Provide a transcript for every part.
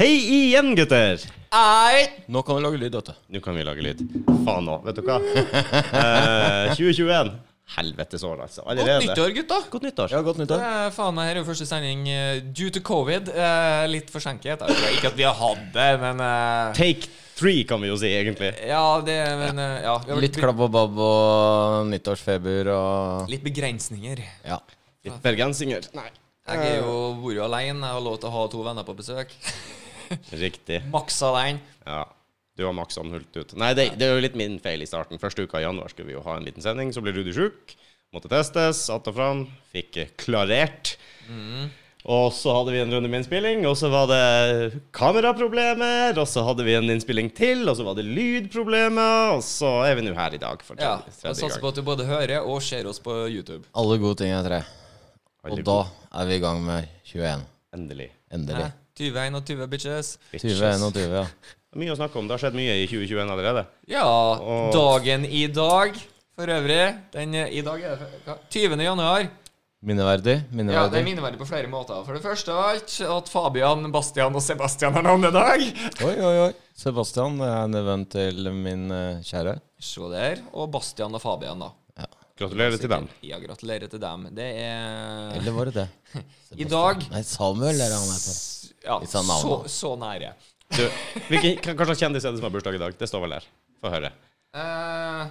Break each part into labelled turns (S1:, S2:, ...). S1: Hei igjen, gutter!
S2: Nå kan du lage lyd, vet du.
S1: Nå kan vi lage lyd. Faen òg, vet du hva? Eh, 2021. Helvetes år, altså. Allerede.
S3: Godt nyttår, gutta!
S1: Godt nyttår.
S2: Ja, godt nytt.
S3: Det er faen meg her er jo første sending eh, due to covid. Eh, litt forsinket. Jeg tror Ikke at vi har hatt det, men eh,
S1: Take three, kan vi jo si, egentlig.
S3: Ja, det men, eh, ja, vi har
S2: Litt
S3: be-
S2: klabb og babb og nyttårsfeber og
S3: litt begrensninger.
S2: Ja.
S1: Litt bergensinger. Nei.
S3: Jeg er jo, bor jo alene. Jeg har lov til å ha to venner på besøk.
S1: Riktig.
S3: Maks alene.
S1: Ja. Du har Max Anhult ut. Nei, det, det er jo litt min feil i starten. Første uka i januar skulle vi jo ha en liten sending, så ble Rudi sjuk. Måtte testes, att og fram. Fikk klarert. Og så hadde vi en runde med innspilling, og så var det kameraproblemer, og så hadde vi en innspilling til, og så var det lydproblemer, og så er vi nå her i dag for
S3: Ja.
S1: tredje,
S3: Jeg
S1: tredje
S3: satser
S1: gang.
S3: på at du både hører og ser oss på YouTube.
S2: Alle gode ting er tre. Og
S1: Alle
S2: da er vi i gang med 21.
S1: Endelig.
S2: Endelig.
S3: Hæ? 2021, bitches.
S1: Bitches.
S2: 2021, ja.
S1: Mye å snakke om. Det har skjedd mye i 2021 allerede.
S3: Ja, dagen i dag for øvrig Den eh, i dag er det hva? 20. januar.
S2: Minneverdig.
S3: Ja, Det er
S2: Minneverdig.
S3: minneverdig på flere måter. For det første av alt at Fabian, Bastian og Sebastian har navnedag.
S2: Oi, oi, oi. Sebastian det er en venn til min eh, kjære.
S3: Se der. Og Bastian og Fabian, da.
S1: Gratulerer til dem.
S3: Ja, gratulerer til dem. Det er
S2: Eller var det det?
S3: I dag
S2: Nei, Samuel er han heter.
S3: Ja,
S2: Vi sa navnet.
S3: så, så nære.
S1: Du, hvilken, hva slags kjendis er det som har bursdag i dag? Det står vel der. Få høre.
S3: Eh,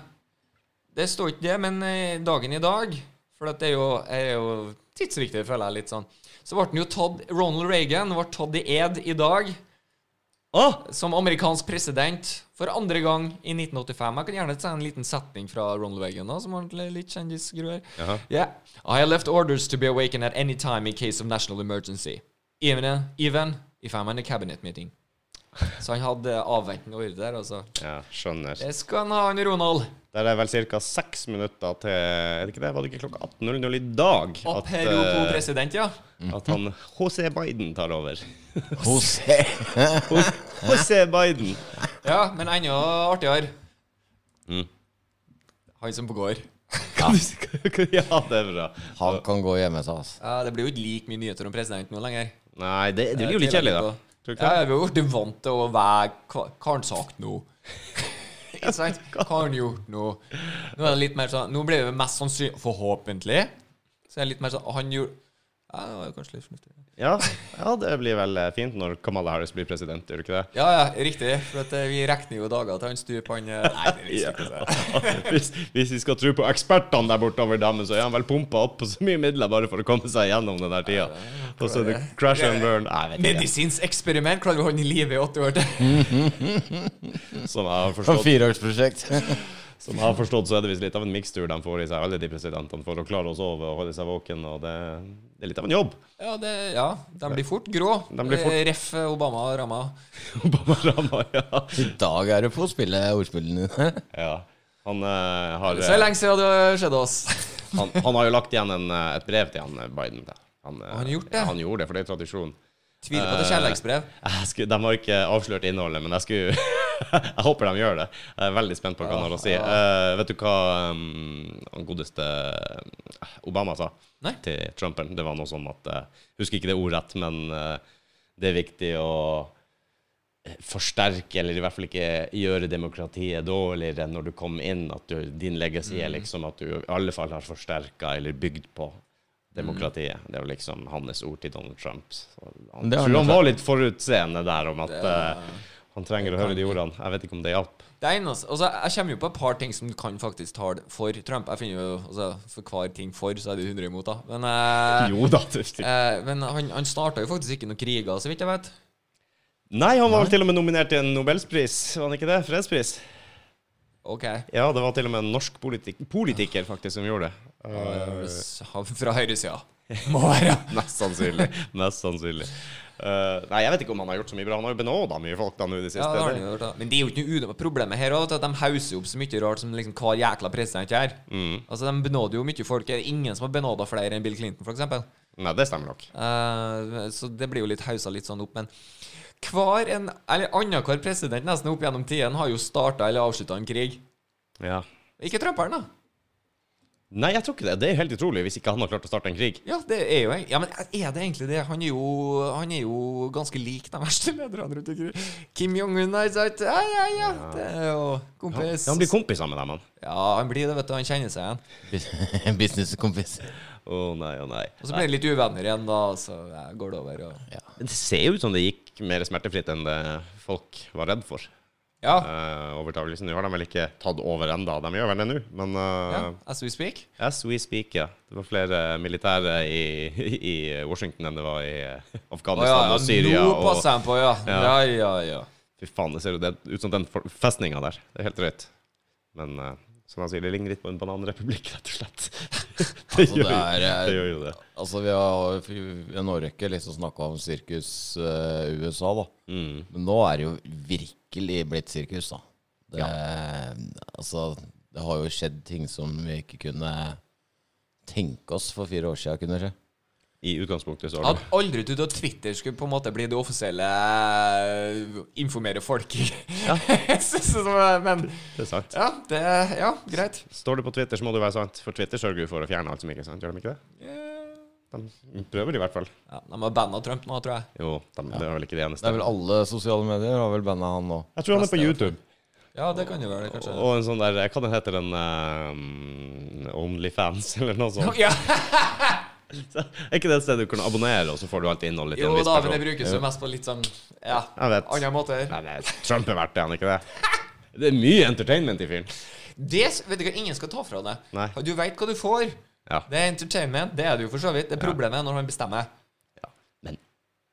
S3: det står ikke det, men eh, dagen i dag For at det er jo, er jo tidsriktig, føler jeg litt sånn. Så ble den jo tatt Ronald Reagan ble tatt i ed i dag
S1: Åh!
S3: som amerikansk president for andre gang i 1985. Jeg kan gjerne ta en liten setning fra Ronald Reagan, da, som var litt- litt kjendisgruer.
S1: Jaha.
S3: Yeah. I have left orders to be awakened at any time in case of national emergency. Even, even if I'm in a cabinet meeting. Så han hadde avventende ordre der, altså.
S1: Ja, skjønner.
S3: Det skal han ha, han Ronald.
S1: Der er vel ca. seks minutter til Er det ikke det? Var det ikke klokka 18.00 i dag at,
S3: Apropos
S1: eh,
S3: president, ja.
S1: at han José Biden tar over?
S2: José.
S1: José Biden!
S3: Ja, men enda artigere.
S1: Mm.
S3: Han som går.
S1: Kan du si- ja, det er bra.
S2: Han kan gå hjemme seg, altså.
S3: Ja, det blir jo ikke like mye nyheter om presidenten nå lenger.
S1: Nei, det, det blir jo litt kjedelig, da. Tror du ikke
S3: Ja,
S1: det?
S3: jeg har blitt vant til å være Hva hva har han sagt nå? Ikke sant? Hva har han gjort nå? Nå er det litt mer sånn Nå blir det mest sannsynlig Forhåpentlig. Så er det litt mer sånn Han gjorde Ja, det var jo kanskje litt fornuftig.
S1: Ja, ja, det blir vel eh, fint når Kamala Harris blir president, gjør det ikke det?
S3: Ja, ja, riktig. For at eh, vi regner jo dager til han stuper han eh, Nei, det visste ikke det.
S1: Hvis, hvis vi skal tro på ekspertene der borte over dammen, så er han vel pumpa opp på så mye midler bare for å komme seg gjennom den der tida. Og så er det crash and burn. Nei, jeg vet
S3: Medisinsk eksperiment klarer vi å holde i live i åtte år til.
S1: ikke. Som jeg har forstått.
S2: Sånn fireårsprosjekt.
S1: Som jeg har forstått, så er det visst litt av en mikstur de får i seg, alle de presidentene, for å klare å sove og holde seg våken, og det, det er litt av en jobb.
S3: Ja, det, ja, de blir fort grå.
S1: De blir fort-
S3: Eh, Ref Obama ramma.
S1: Obama-rama, ja.
S2: I dag er det på å spille ordspillene dine.
S1: ja. Han, eh, har,
S3: Så lenge siden det skjedde oss.
S1: han, han har jo lagt igjen en, eh, et brev til han eh, Biden. da. Han, eh,
S3: Har han gjort det?
S1: Ja, han gjorde det, for det er tradisjon.
S3: Tviler på at det er kjærlighetsbrev.
S1: Jeg skulle, de har ikke avslørt innholdet, men jeg skulle Jeg håper de gjør det. Jeg er veldig spent på hva han har å si. Eh, vet du hva um, han godeste eh, Obama sa
S3: Nei.
S1: til Trumpen? Det var noe sånn at eh, Jeg husker ikke det ordrett, men eh, det er viktig å eh, forsterke, eller i hvert fall ikke gjøre demokratiet dårligere enn når du kom inn. At du, din legacy er
S3: Mm.
S1: liksom at du i alle fall har forsterka eller bygd på
S3: Mm.
S1: demokratiet. Det er jo liksom hans ord til Donald Trump. Så han,
S2: Det har
S1: tror han
S2: han klart.
S1: var litt forutseende der om at
S3: Det er-
S1: eh, han trenger å høre de ordene. Jeg vet ikke om det hjalp.
S3: Det eneste, altså, jeg kommer jo på et par ting som kan faktisk tale for Trump. Jeg finner jo, altså, For hver ting for, så er det 100 imot, da. Men, eh,
S1: Jo da. det-
S3: eh, men han, han starta jo faktisk ikke noen kriger, så vidt jeg vet.
S1: Nei, han var vel til og med nominert til en Nobelspris, var han ikke det? Fredspris?
S3: OK.
S1: Ja, det var til og med en norsk politik politiker faktisk som gjorde det.
S3: S- Fra høyresida. Må være.
S1: Mest sannsynlig. Mest sannsynlig. Eh, nei, jeg vet ikke om han har gjort så mye bra. Han har jo benåda mye folk da nå i det siste.
S3: Ja, det har han jo gjort, da. Men det er jo ikke noe udenom problemet her også, at de hauser opp så mye rart som liksom hver jækla president gjør.
S1: Mm.
S3: Altså, de benåder jo mye folk. Det er ingen som har benåda flere enn Bill Clinton, f.eks.
S1: Nei, det stemmer nok.
S3: Eh, så det blir jo litt hausa litt sånn opp, men hver en, eller annenhver president nesten opp gjennom tidene har jo starta eller avslutta en krig.
S1: Ja.
S3: Ikke Trump her, da.
S1: Nei, jeg tror ikke det. Det er helt utrolig hvis ikke han har klart å starte en krig.
S3: Ja, det er jo Ja, men er det egentlig det? Han er jo, han er jo ganske lik de verste lederne rundt omkring. Kim Jong-un, ikke sant? Ja, ja, ja. Det er jo
S1: Ja,
S3: kompis.
S1: han blir kompiser med dem, han.
S3: Ja, han blir det, vet du. Han kjenner seg igjen.
S2: Businesskompis.
S1: Å nei, å nei.
S3: Og så blir han litt uvenner igjen, da, så ja, går det over. Og...
S2: Ja.
S1: Det ser ut som det gikk mer smertefritt enn det folk var redd for.
S3: Ja.
S1: Eh, overtagelsen. Nå har de vel ikke tatt over enda, de gjør vel det nå, men eh,
S3: ja. As we speak.
S1: As we speak, ja. Det var flere militære i, i Washington enn det var i eh,
S3: Å ja,
S1: Afghanistan
S3: ja,
S1: og Syria.
S3: nå
S1: Og,
S3: passer han på, ja. Ja, ja, ja.
S1: fy faen, det ser jo det, ut som den for- festninga der. Det er helt drøyt. Men eh, som han sier, det ligner litt på en bananrepublikk, rett og slett. det,
S2: Altså,
S1: gjør, jo-
S2: det er-
S1: det gjør jo det.
S2: Altså, vi har jo i en årrekke liksom snakka om sirkus eh, USA, da.
S1: Mm.
S2: Men nå er det jo virkelig blitt sirkus, da. Det, altså, det har jo skjedd ting som vi ikke kunne tenke oss for fire år siden kunne skje.
S1: I utgangspunktet så
S3: Jeg
S1: har du
S3: hadde aldri trodd at Twitter skulle på en måte bli det offisielle eh, informere folk. Ja. men
S1: Det er sant.
S3: ja, det Ja, greit.
S1: Står det på Twitter, så må det være sant. For Twitter sørger jo for å fjerne alt som ikke er sant. Gjør de ikke det? De prøver i hvert fall.
S3: Ja, de har banna Trump nå, tror jeg.
S1: Jo, de, det er vel ikke det
S2: Det
S1: eneste.
S2: er vel alle sosiale medier har vel banna han nå.
S1: Jeg tror han er på YouTube.
S3: Ja, det kan jo være det, kanskje.
S1: Og en sånn der Hva den heter den eh, Onlyfans, eller noe sånt.
S3: Ja,
S1: Så, er ikke det et sted du kan abonnere, og så får du alltid innhold litt i
S3: jo
S1: en viss
S3: da, men det
S1: person?
S3: brukes jo mest på litt sånn Ja,
S1: Jeg vet.
S3: andre måter.
S1: Nei, nei, Trump er verdt det, han er ikke det? Det er mye entertainment i fyren.
S3: Det s- vet du hva, ingen skal ta fra deg.
S1: Nei.
S3: Du veit hva du får.
S1: Ja.
S3: Det er entertainment. Det er det jo for så vidt. Det er problemet når han bestemmer.
S1: Ja. Men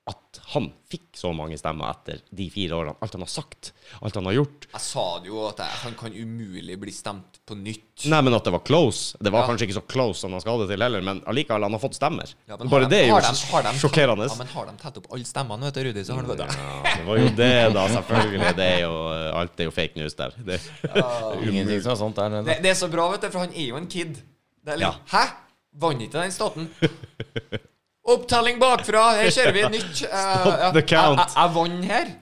S1: at han fikk så mange stemmer etter de fire årene, alt han har sagt, alt han har gjort
S3: Jeg sa det jo at jeg, han kan umulig bli stemt på nytt.
S1: Nei, men at det var close. Det var
S3: Ja.
S1: kanskje ikke så close som han skal ha det til heller, men allikevel, han har fått stemmer.
S3: Ja, men har
S1: Bare
S3: de-
S1: det er jo
S3: har de- har de-
S1: sjokkerende.
S3: Ja, men har de tatt opp alle stemmene, vet du, Rudi, så har de det.
S1: Ja, det var jo det, da, selvfølgelig. Det er jo, alt er jo fake news der. Det,
S2: Ingenting som er sant der nede.
S3: det. Det er så bra, vet du, for han er jo en kid. Det er litt,
S1: Ja.
S3: Hæ? Vant ikke den staten? Opptelling bakfra, her kjører vi nytt. Eh, ja.
S1: the count. Mm.
S3: Jeg, jeg, jeg vant her.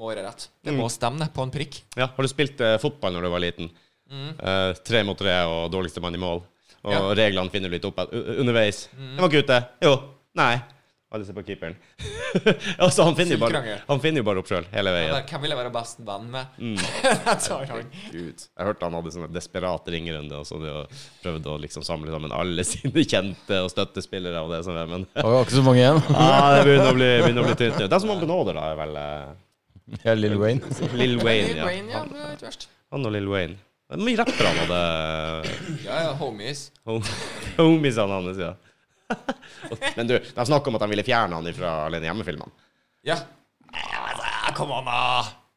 S3: Må være rett. Det må stemme det, på en prikk.
S1: Ja, har du spilt eh, fotball når du var liten? Eh, tre mot tre og dårligste mann i mål. Og
S3: Ja.
S1: reglene finner du litt opp at- u- u- underveis. Jeg var ikke ute. Jo. Nei. Alle ser på keeperen. altså, han finner, jo bare,
S3: Full krangel.
S1: han finner jo bare opp sjøl hele veien.
S3: Der, Hvem vil jeg være best venn med?
S1: Mm.
S3: jeg tar han.
S1: Gud. Jeg hørte han hadde sånne desperate ringerunde og sånn, og prøvde å liksom samle sammen alle sine kjente og støttespillere og det som er, men
S2: Det var jo ikke så mange igjen.
S1: ah, Det begynner å bli, begynner å bli tynt. nå. Den som han benåder, da, er vel eh,
S2: Ja, Lill Wayne.
S1: Lil Wayne.
S3: Wayne,
S1: Ja.
S3: Wayne, ja, det er ikke verst.
S1: Han og Lil Wayne. Det er mye rappere han hadde
S3: Ja, ja, homies.
S1: Hom- Homiesene hans, ja. Men du, de snakka om at de ville fjerne han fra Alene hjemme-filmene.
S3: Ja. Kom an, da!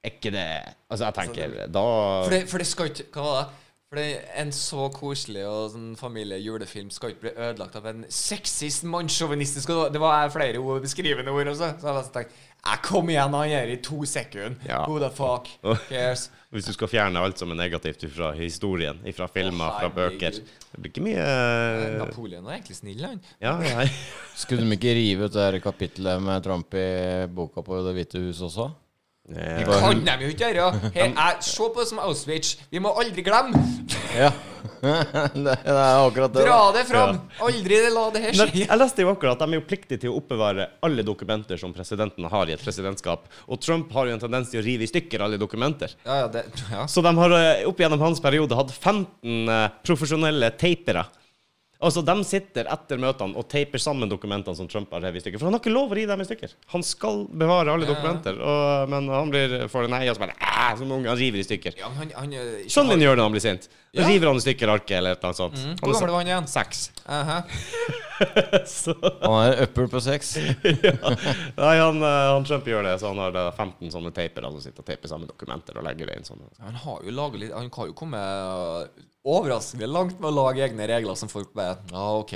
S1: Er ikke det Altså, jeg tenker da
S3: For det, for det skal ikke Hva var det? For det, en så koselig og sånn familiejulefilm skal ikke bli ødelagt av en sexist, mannssjåvinistisk og Det var flere ord, beskrivende ord også. Så jeg bare tenkte Jeg kom igjen, han gjør det i to sekunder.
S1: Ja.
S3: Who the fuck cares?
S1: Hvis du skal fjerne alt som er negativt fra historien, fra filmer, fra bøker
S3: herregud.
S1: Det blir ikke mye
S3: Napoleon var egentlig snill, han.
S1: Ja, nei.
S2: Skulle de ikke rive ut det her kapitlet med Trump i boka på Det hvite hus også?
S1: Ja.
S2: Bare-
S3: Kan de jo ikke gjøre! Her, jeg, se på det som Auschwitz. Vi må aldri glemme!
S2: Ja. det, det er akkurat det.
S3: Dra
S2: da.
S3: det fram! Aldri la det her
S1: Men
S3: skje.
S1: Jeg leste jo akkurat at de er jo pliktige til å oppbevare alle dokumenter som presidenten har i et presidentskap. Og Trump har jo en tendens til å rive i stykker alle dokumenter.
S3: Ja, ja, det, ja.
S1: Så de har eh, opp gjennom hans periode hatt 15 eh, profesjonelle tapere. Altså, De sitter etter møtene og taper sammen dokumentene som Trump har revet i stykker. For han har ikke lov å rive dem i stykker. Han skal bevare alle
S3: Ja.
S1: dokumenter. Og, men han blir får det nei, og så bare "Æ", som unge, Han river i stykker.
S3: ja men han, han, eh,
S1: Sønnen min gjør det når han blir sint. Da
S3: Ja. Mm.
S1: River han i stykker arket eller et eller annet sånt.
S3: Hvor gammel var han igjen?
S1: Seks.
S3: Aha.
S1: Så,
S2: Han er upper på seks.
S1: nei, han, eh, han Trump gjør det, så han har eh, 15 sånne tapere som sitter og taper sammen dokumenter og legger det inn sånn.
S3: Han har jo laget litt Han kan jo komme øh, overraskende langt med å lage egne regler som folk bare Ja, OK.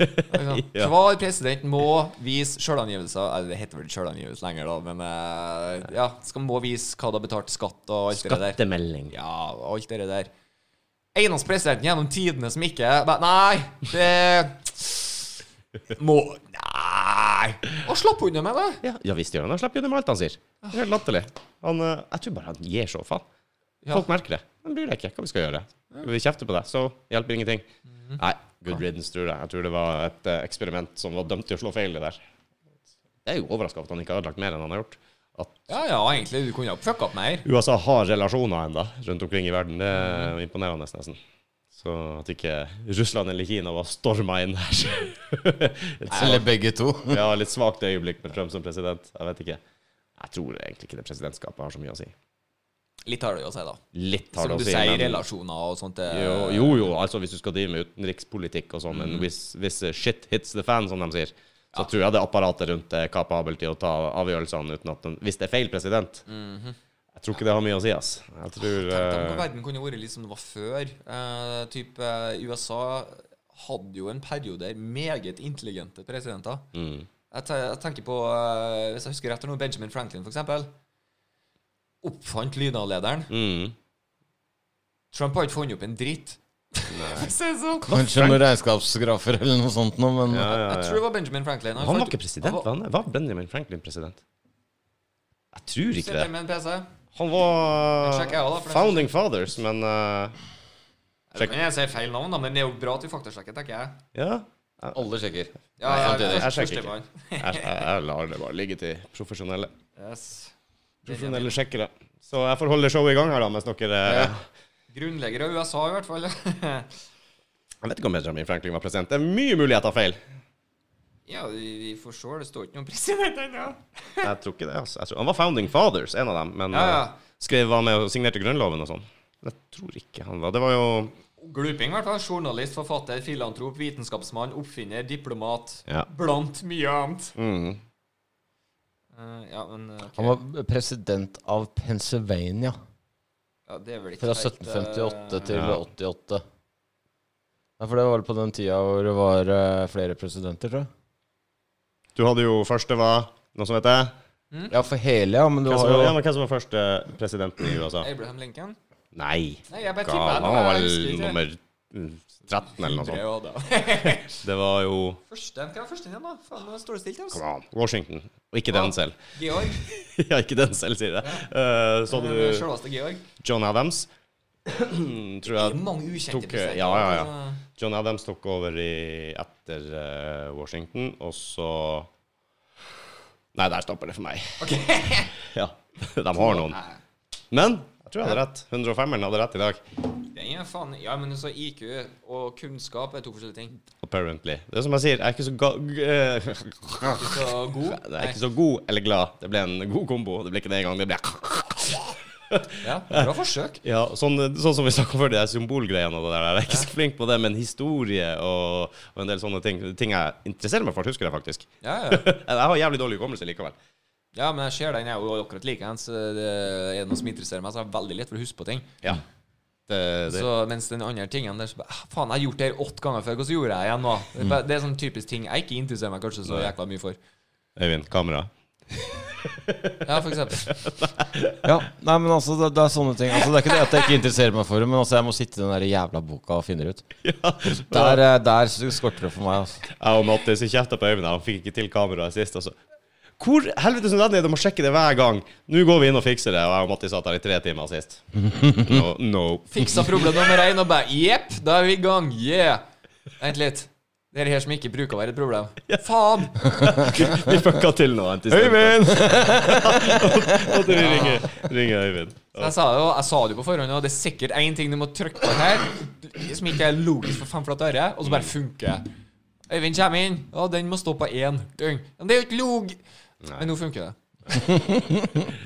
S1: Ja.
S3: Hver president må vise sjølangivelse Eller det heter vel ikke sjølangivelse lenger, da, men øh, ja, skal må vise hva du har betalt i skatt og alt det der.
S1: Skattemelding.
S3: Ja, og alt det der. Eneste presidenten gjennom tidene som ikke bare, Nei, det Må Nei! Og slapp unna med det.
S1: Ja, ja visst gjør han det. Han slipper jo det med alt han sier. Det er helt latterlig. Han, eh, jeg tror bare han gir så faen.
S3: Ja.
S1: Folk merker det. Men bryr deg ikke hva vi skal gjøre. Vi kjefter på deg, så hjelper ingenting. Nei, good riddance, tror jeg. Jeg tror det var et eh, eksperiment som var dømt til å slå feil, det der. Jeg er jo overraska over at han ikke har ødelagt mer enn han har gjort. At
S3: Ja, ja, egentlig. Du kunne ha fucka opp mer.
S1: USA har relasjoner ennå rundt omkring i verden, det er imponerende nesten. Så at ikke Russland eller Kina var storma inn her. Et svakt-
S2: Eller begge to.
S1: ja, litt svakt øyeblikk med Trump som president. Jeg vet ikke. Jeg tror egentlig ikke det presidentskapet har så mye å si.
S3: Litt har det jo å si, da.
S1: Litt har
S3: Som du
S1: det å si.
S3: sier,
S1: men-
S3: relasjoner og sånt. det-
S1: jo, jo, jo, altså hvis du skal drive med utenrikspolitikk og sånn, men
S3: Mm.
S1: hvis, hvis shit hits the fan, som de sier, så tror jeg det apparatet rundt er kapabel til å ta avgjørelsene uten at den, Hvis det er feil president. Jeg tror ikke det har mye å si, ass. Jeg tror
S3: Mhm. Tenk deg om
S1: eh,
S3: verden kunne vært litt som det var før. Eh, typ, eh, USA hadde jo en periode der meget intelligente presidenter.
S1: Mm.
S3: Jeg, te jeg tenker på, eh, hvis jeg husker rett, nå, Benjamin Franklin, for eksempel. Oppfant lynavlederen.
S1: mm,
S3: Trump har ikke funnet opp en dritt. For å si det sånn.
S2: Kanskje noen regnskapsgrafer eller noe sånt nå, men
S1: ja, ja,
S3: Jeg
S1: ja.
S3: tror det var Benjamin Franklin.
S1: Han var
S3: fant-
S1: ikke president,
S3: han
S1: var
S3: var-
S1: han? Var Benjamin Franklin president? Jeg tror ikke
S3: Sitter
S1: det.
S3: med en PC.
S1: Han
S3: Jeg sjekker jeg
S1: var
S3: også, da, for det- sånn-
S1: founding fathers, men eh,
S3: Jeg
S1: Sjekk.
S3: kan jeg si feil navn, da, men det er jo bra at vi faktasjekker, tenker jeg.
S1: ja.
S2: alle sjekker.
S3: Ja,
S2: Nei,
S3: jeg,
S2: samtidig.
S1: Jeg sjekker ikke.
S3: førstemann.
S1: Jeg, jeg, jeg lar det bare ligge til profesjonelle.
S3: Yes.
S1: Profesjonelle sjekkere. Så jeg får holde showet i gang her, da, mens dere eh,
S3: Grunnlegger av USA, i hvert fall.
S1: Jeg vet ikke om Benjamin Franklin var president. Det er mye mulig jeg tar feil.
S3: Ja, vi, vi får se. Det står ikke noen president ennå.
S1: Jeg tror ikke det, altså. Jeg tror, han var founding fathers, en av dem, men
S3: Ja, ja.
S1: eh, skrev var med og signerte Grunnloven og sånn. Jeg tror ikke han var Det var jo
S3: Gluping, i hvert fall. Journalist, forfatter, filantrop, vitenskapsmann, oppfinner, diplomat.
S1: Ja.
S3: Blant mye annet.
S1: mm,
S3: Eh, ja, men eh, ok.
S2: Han var president av Pennsylvania
S3: ja, det er vel ikke
S2: fra
S3: helt, eh,
S2: 1758 til
S1: Ja.
S2: 88. Nei, for det var vel på den tida hvor det var eh, flere presidenter, tror jeg.
S1: Du hadde jo første var Noe som heter
S3: Mm.
S2: Ja, for hele, ja, men du
S1: Hvem
S2: har
S1: som, ja,
S2: jo
S1: men hvem som var første presidenten i USA?
S3: Abraham Lincoln?
S1: Nei.
S3: Nei, jeg bare
S1: Gal,
S3: tipper.
S1: han var vel nummer 13 eller noe sånt.
S3: sånt.
S1: Det var jo
S3: Første, hva var første igjen, da? Faen, nå står det stilt, altså.
S1: Come on, Washington. Og ikke den selv.
S3: Georg.
S1: ja, ikke den selv, sier jeg. Eh, så
S3: eh,
S1: du
S3: Selveste Georg.
S1: John Adams? tror
S3: Det
S1: jeg
S3: er mange ukjente
S1: tok,
S3: presidenter.
S1: ja, ja, ja.
S3: altså.
S1: John Adams tok over i, etter eh, Washington, og så Nei, der stopper det for meg.
S3: eh,
S1: ja, De har noen.
S3: Nei,
S1: Men jeg tror jeg hadde rett. 105-eren hadde rett i dag.
S3: Det er faen Ja, men så IQ og kunnskap er to forskjellige ting.
S1: Apparently. Det er som jeg sier, jeg er ikke så ga... g- eh,
S3: Du skal være god.
S1: Jeg er ikke så god eller glad. Det ble en god kombo. Det ble ikke det engang. Det ble
S3: Ja, bra forsøk.
S1: Ja, sånn, sånn som vi snakka om før, de der symbolgreiene og det der. Jeg er ikke så flink på det, men historie og, og en del sånne ting Ting jeg interesserer meg for, husker jeg faktisk.
S3: Ja, ja.
S1: Jeg har jævlig dårlig hukommelse likevel.
S3: ja, men jeg ser den. Jeg er jo akkurat likeens. Det er noe som interesserer meg, så jeg har veldig lett for å huske på ting.
S1: Ja. Det, det,
S3: Så mens den andre tingen der så bare «Ah, Faen, jeg har gjort det her åtte ganger før. Hva så gjorde jeg igjen nå? Det er
S1: Mm.
S3: bare- Det er sånn typisk ting jeg ikke interesserer meg kanskje så jækla mye for.
S1: Øyvind, kamera.
S3: Ja, for eksempel.
S2: Ja, nei, men altså, det, det er sånne ting. Altså, det er ikke det at jeg ikke interesserer meg for det, men altså, jeg må sitte i den der jævla boka og finne det ut. Der, eh, der skorter det for meg, altså.
S1: Jeg og Mattis jeg kjefta på Øyvind, han fikk ikke til kameraet sist. Altså. Hvor helvete som den er, du må sjekke det hver gang. Nå går vi inn og fikser det. Og jeg og Mattis satt her i tre timer sist. No. no.
S3: Fiksa problem nummer én og bare Jepp, da er vi i gang. Yeah. Vent litt. Det er det her som ikke bruker å være et problem. Faen!
S1: Vi fucka til noe. annet i stedet for. Måtte vi ringe, ringe Øyvind.
S3: Så Jeg sa, det jo, jeg sa det jo på forhånd, og det er sikkert én ting du må trykke på her som ikke er logisk for fem flate øre, og så bare funker det. Øyvind kommer inn, og den må stå på én. Døgn. Men det er jo ikke log... Men nå funker det.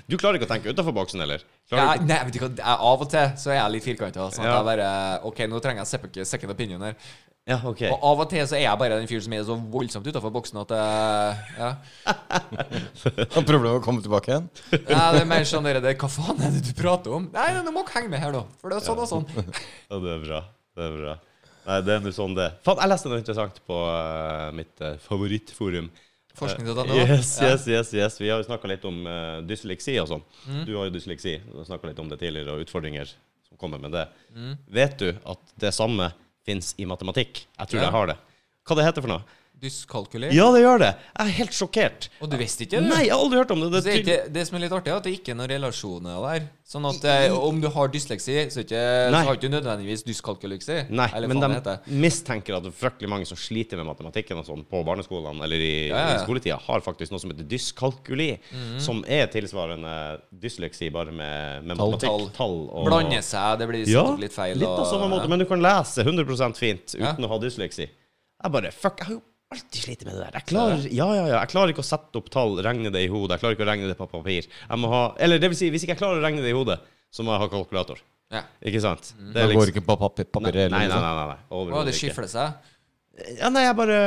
S1: Du klarer ikke å tenke utafor boksen, eller? Klarer
S3: Jeg, nei, vet du hva, jeg, Av og til så er jeg litt firkanta. Sånn at
S1: Ja.
S3: jeg bare OK, nå trenger jeg second- second opinion her.
S1: du- Ja, ok.
S3: Og av og til så er jeg bare den fyren som er så voldsomt utafor boksen at eh, ja.
S2: Har problemer med å komme tilbake igjen?
S3: Nei, det er mer sånn der, det, Hva faen er det du prater om? Nei, nei, nå må dere henge med her, da. For det er sånn og sånn.
S1: Ja, det er bra. Det er bra. Nei, det er nå sånn det Faen, jeg leste noe interessant på eh, mitt eh, favorittforum.
S3: Forskning.no.
S1: Yes,
S3: Ja.
S1: yes, yes, yes. Vi har jo snakka litt om eh, dysleksi og sånn.
S3: Mm.
S1: Du har jo dysleksi. Du har snakka litt om det tidligere, og utfordringer som kommer med det.
S3: Mm.
S1: Vet du at det samme fins i matematikk? Jeg tror
S3: Ja.
S1: jeg har det. Hva det heter for noe?
S3: Dyskalkulert.
S1: Ja, det gjør det. Jeg er helt sjokkert.
S3: Og du visste ikke det?
S1: Nei, jeg har aldri hørt om det.
S3: Så det,
S1: det
S3: er
S1: er
S3: ikke, det som er litt artig, er at det ikke er noen relasjoner der. Sånn at eh, om du har dysleksi, så, er ikke, så
S1: Nei.
S3: har ikke du nødvendigvis dyskalkuleksi.
S1: Nei,
S3: eller
S1: men de
S3: faen det heter.
S1: mistenker at det er fryktelig mange som sliter med matematikken og sånn på barneskolene eller i,
S3: Ja, Mhm. ja.
S1: i skoletida, har faktisk noe som heter dyskalkuli, som er tilsvarende dysleksi, bare med, med
S2: Tall.
S1: matematikk. Tall og
S3: Blande seg, det blir satt
S1: Ja,
S3: opp litt feil.
S1: litt på
S3: og-
S1: samme måte, men du kan lese 100 fint uten å
S3: Ja.
S1: ha dysleksi. Jeg bare Fuck, jeg har jo alltid slitt med det der. Jeg klarer, ja, ja, ja, jeg klarer ikke å sette opp tall, regne det i hodet. Jeg klarer ikke å regne det på papir. Jeg må ha Eller det vil si, hvis ikke jeg klarer å regne det i hodet, så må jeg ha kalkulator.
S3: Ja.
S1: Ikke sant?
S3: Mhm.
S1: Det
S2: Det
S1: er
S2: går
S1: liksom
S2: ikke på papir,
S1: Nei,
S2: papir
S1: nei,
S2: eller
S1: nei.
S2: noe sånt.
S1: nei, nei,
S3: Å, det
S1: Overhodet ikke.
S3: skifler seg.
S1: Ja, nei, jeg bare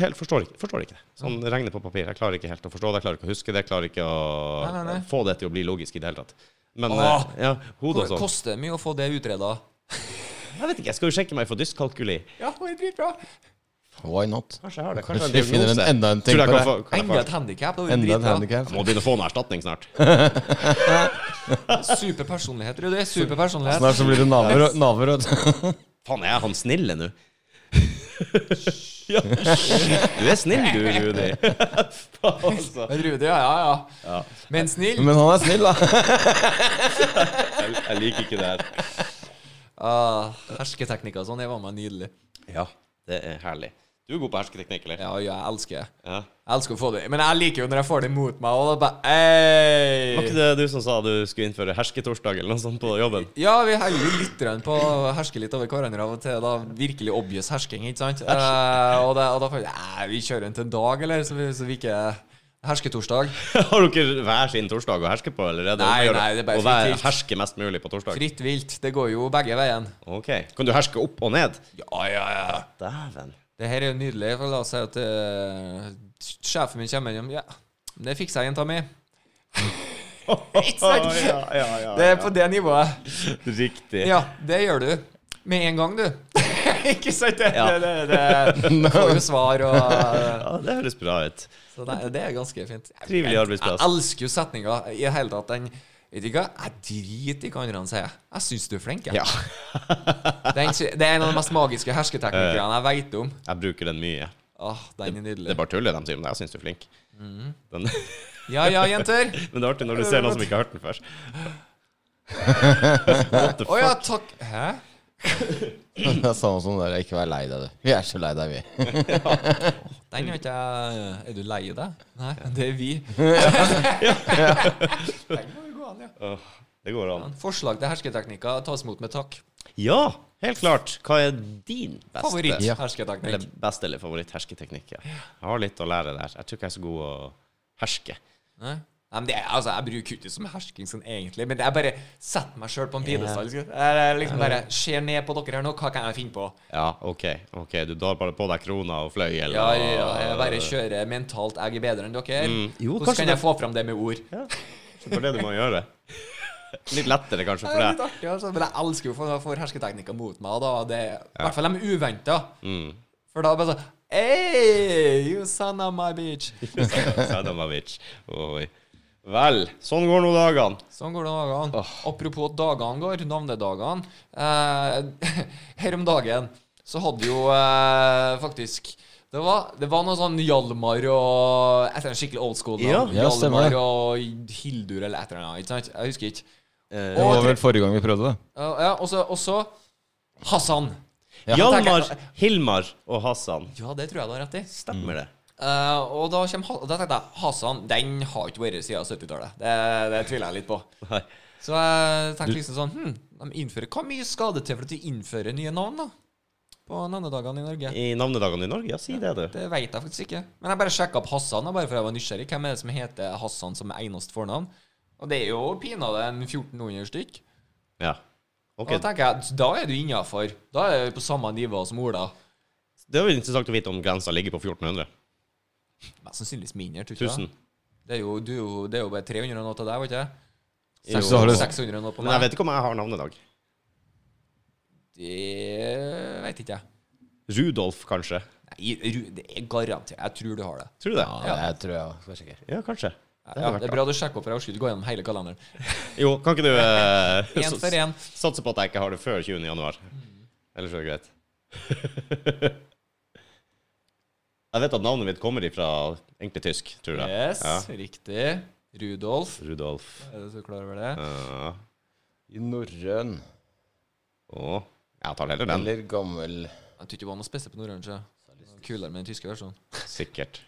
S1: helt forstår ikke, forstår ikke det. Sånn regner på papir. Jeg klarer ikke helt å forstå det. Jeg klarer ikke å huske det. Jeg klarer ikke å
S3: Nei, nei, nei.
S1: få det til å bli logisk i det hele tatt. Men
S3: Åh!
S1: eh, ja, hodet og
S3: Det
S1: sånn.
S3: koster mye å få det utreda.
S1: Jeg vet ikke, jeg skal jo sjekke meg for dyskalkuli.
S3: Ja, det er dritbra.
S2: Why not?
S1: Kanskje jeg har det.
S2: Kanskje
S1: Kanskje jeg
S2: vi
S1: har en
S2: finner en-
S1: diagnose.
S2: enda en ting
S1: Tror jeg
S2: på
S1: kan
S2: det.
S1: få- kan jeg
S3: Enda
S1: få-
S3: et handikap. Det er
S2: Enda
S3: jo
S2: en
S3: dritbra.
S2: handikap.
S1: Jeg må begynne å få noe erstatning snart.
S3: Superpersonlighet, Rudi. Superpersonlighet.
S2: Snart så blir det naver og naver og
S1: Faen, er jeg han snille nå? Ja. Du er snill, du, Rudi. Faen, altså.
S3: Men Rudi, ja, ja, ja. Men snill.
S2: Men han er snill, da.
S1: Jeg, jeg liker ikke det her.
S3: Ah, hersketeknikker og sånn, det var meg nydelig.
S1: Ja, det er herlig. Du er god på hersketeknikk, eller?
S3: Ja, ja, jeg elsker det.
S1: Ja.
S3: Jeg elsker å få det. Men jeg liker jo når jeg får det mot meg, og da bare Ei!
S1: Var ikke det du som sa du skulle innføre hersketorsdag eller noe sånt på jobben?
S3: Ja, vi henger jo litt grann på å herske litt over hverandre av og til. Da virkelig obvious hersking, ikke sant? Eh, og, det, og da får vi Nei, vi kjører en til en dag, eller? Så vi, så vi ikke Hersketorsdag.
S1: Har dere hver sin torsdag å herske på, eller er det
S3: Nei,
S1: om å gjøre
S3: nei, det er bare
S1: å være,
S3: fritt vilt.
S1: herske mest mulig på torsdag?
S3: Fritt vilt. Det går jo begge veien.
S1: Ok. Kan du herske opp og ned?
S3: Ja, ja, ja.
S1: Dæven.
S3: Det her er jo nydelig. For la oss si at eh, sjefen min kommer hjem. Ja, det fikser jeg, jenta mi. Ikke sant?
S1: Å, ja, ja, ja,
S3: Det er på det nivået.
S1: Riktig.
S3: Ja, det gjør du. Med en gang, du. ikke sant? Det,
S1: Ja.
S3: det, det, det får jo svar og
S1: Ja, det høres bra ut.
S3: Så det, det er ganske fint. Jeg-
S1: Trivelig arbeidsplass.
S3: Jeg elsker jo setninga i det hele tatt. Den Vet du hva, jeg driter i hva andre sier. Jeg syns du er flink. jeg.
S1: Ja.
S3: Den, sy- det er en av de mest magiske hersketeknikkene jeg veit om.
S1: Jeg bruker den mye.
S3: Åh, den er
S1: Det
S3: nydelig.
S1: er bare tull det de sier, men jeg syns du er flink.
S3: Mhm.
S1: Den,
S3: Ja ja, jenter.
S1: men det er artig når du ser noen som ikke har hørt den før. What the
S3: Å ja, takk. Hæ?
S2: Det er samme som det der. Ikke vær lei deg, du. Vi er så lei deg, vi.
S3: Den har ikke jeg Er du lei deg? Nei, det er vi. Den må jo gå an, ja.
S1: f- Åh, Det går an.
S3: Forslag til hersketeknikker tas imot med takk.
S1: Ja, helt klart. Hva er din beste
S2: Ja.
S3: Favoritt-hersketeknikk.
S1: Eller beste eller favoritt-hersketeknikk? Ja. Jeg har litt å lære der. Jeg tror ikke jeg er så god å herske.
S3: Nei, men det, er- altså, jeg bruker jo ikke det som hersking sånn egentlig, men jeg bare setter meg sjøl på en pidestall. liksom. Jeg liksom bare ser ned på dere her nå, hva kan jeg finne på?
S1: Ja, OK. ok, Du drar bare på deg krona og fløyel.
S3: Ja,
S1: og-
S3: ja, jeg bare kjører mentalt, jeg er bedre enn
S1: Jo,
S3: dere. Hvordan
S1: kanskje
S3: kan jeg
S1: det-
S3: få fram det med ord?
S1: Ja. Så det er det du må gjøre. Litt lettere, kanskje,
S3: Det
S1: for
S3: er
S1: deg.
S3: litt artig, altså. Men jeg elsker jo for, for hersketeknikker mot meg, og da. Det, I hvert fall de uventa.
S1: Mm.
S3: For da bare sånn Hey, you son of my bitch.
S1: Sadamovic. Oi. Vel, sånn går nå dagene.
S3: Sånn går det dagene. Apropos at dagene går, navnedagene. Eh, her om dagen så hadde jo eh, faktisk det var, det var noe sånn Hjalmar og Etter en skikkelig old school
S1: Ja,
S3: navn.
S2: ja, stemmer
S3: Hjalmar
S2: det.
S3: og Hildur eller et eller annet. Ikke sant? Jeg husker ikke. Eh,
S1: Eh,
S2: Det var vel forrige gang vi prøvde det.
S3: Ja, ja, og så- og så Hassan.
S1: Hjalmar, Hilmar og Hassan.
S3: Ja, det tror jeg du har rett i.
S1: Stemmer det?
S3: Eh, og da, kommer, Ha- da tenkte jeg Hasan, den har ikke vært siden 70-tallet. Det, det tviler jeg litt på.
S1: Nei.
S3: Så jeg tenkte liksom sånn hm, de innfører, Hva mye skal det til for at de innfører nye navn da? på navnedagene i Norge?
S1: I navnedagene i Norge? Ja, si det, du.
S3: Det vet jeg faktisk ikke. Men jeg bare sjekka opp Hassan. da, Bare for jeg var nysgjerrig Hvem er det som heter Hassan som eneste fornavn? Og det er jo pinadø en 1400 stykk.
S1: Ja.
S3: Og
S1: Ok,
S3: Da tenker jeg, da er du innafor. Da er du på samme nivå som Ola.
S1: Det er jo interessant å vite om grensa ligger på 1400.
S3: Mest sannsynligvis mindre. tror du ikke
S1: 1000.
S3: det? Det er jo, du, er jo- det er jo bare 300 og noe til deg, var ikke det?
S1: Jo.
S2: Så har du-
S3: 600 og noe på
S1: Men jeg
S3: meg.
S1: vet ikke om jeg har navnedag.
S3: Det veit ikke jeg.
S1: Rudolf, kanskje.
S3: Nei, Ru- det er garantert. Jeg tror du har det.
S1: Tror du det?
S2: Ja, jeg tror jeg skal sjekke.
S1: Ja, kanskje. Det
S3: Ja,
S1: hadde
S3: det er
S1: vært bra.
S3: bra du sjekker opp, for jeg orker ikke gå gjennom hele kalenderen.
S1: Jo, kan ikke du eh,
S3: En for en.
S1: satse på at jeg ikke har det før 20. januar? Ellers er det greit. Jeg vet at navnet mitt kommer ifra egentlig tysk, tror jeg.
S3: Yes,
S1: Ja.
S3: riktig. Rudolf.
S1: Rudolf.
S3: Er du så klar over det?
S1: Uh,
S2: I norrøn
S1: og jeg tar heller den.
S2: eller gammel
S3: Jeg tror ikke det var noe spesielt på norrøn. sjø. Kulere med den tyske versjonen.
S1: Sikkert.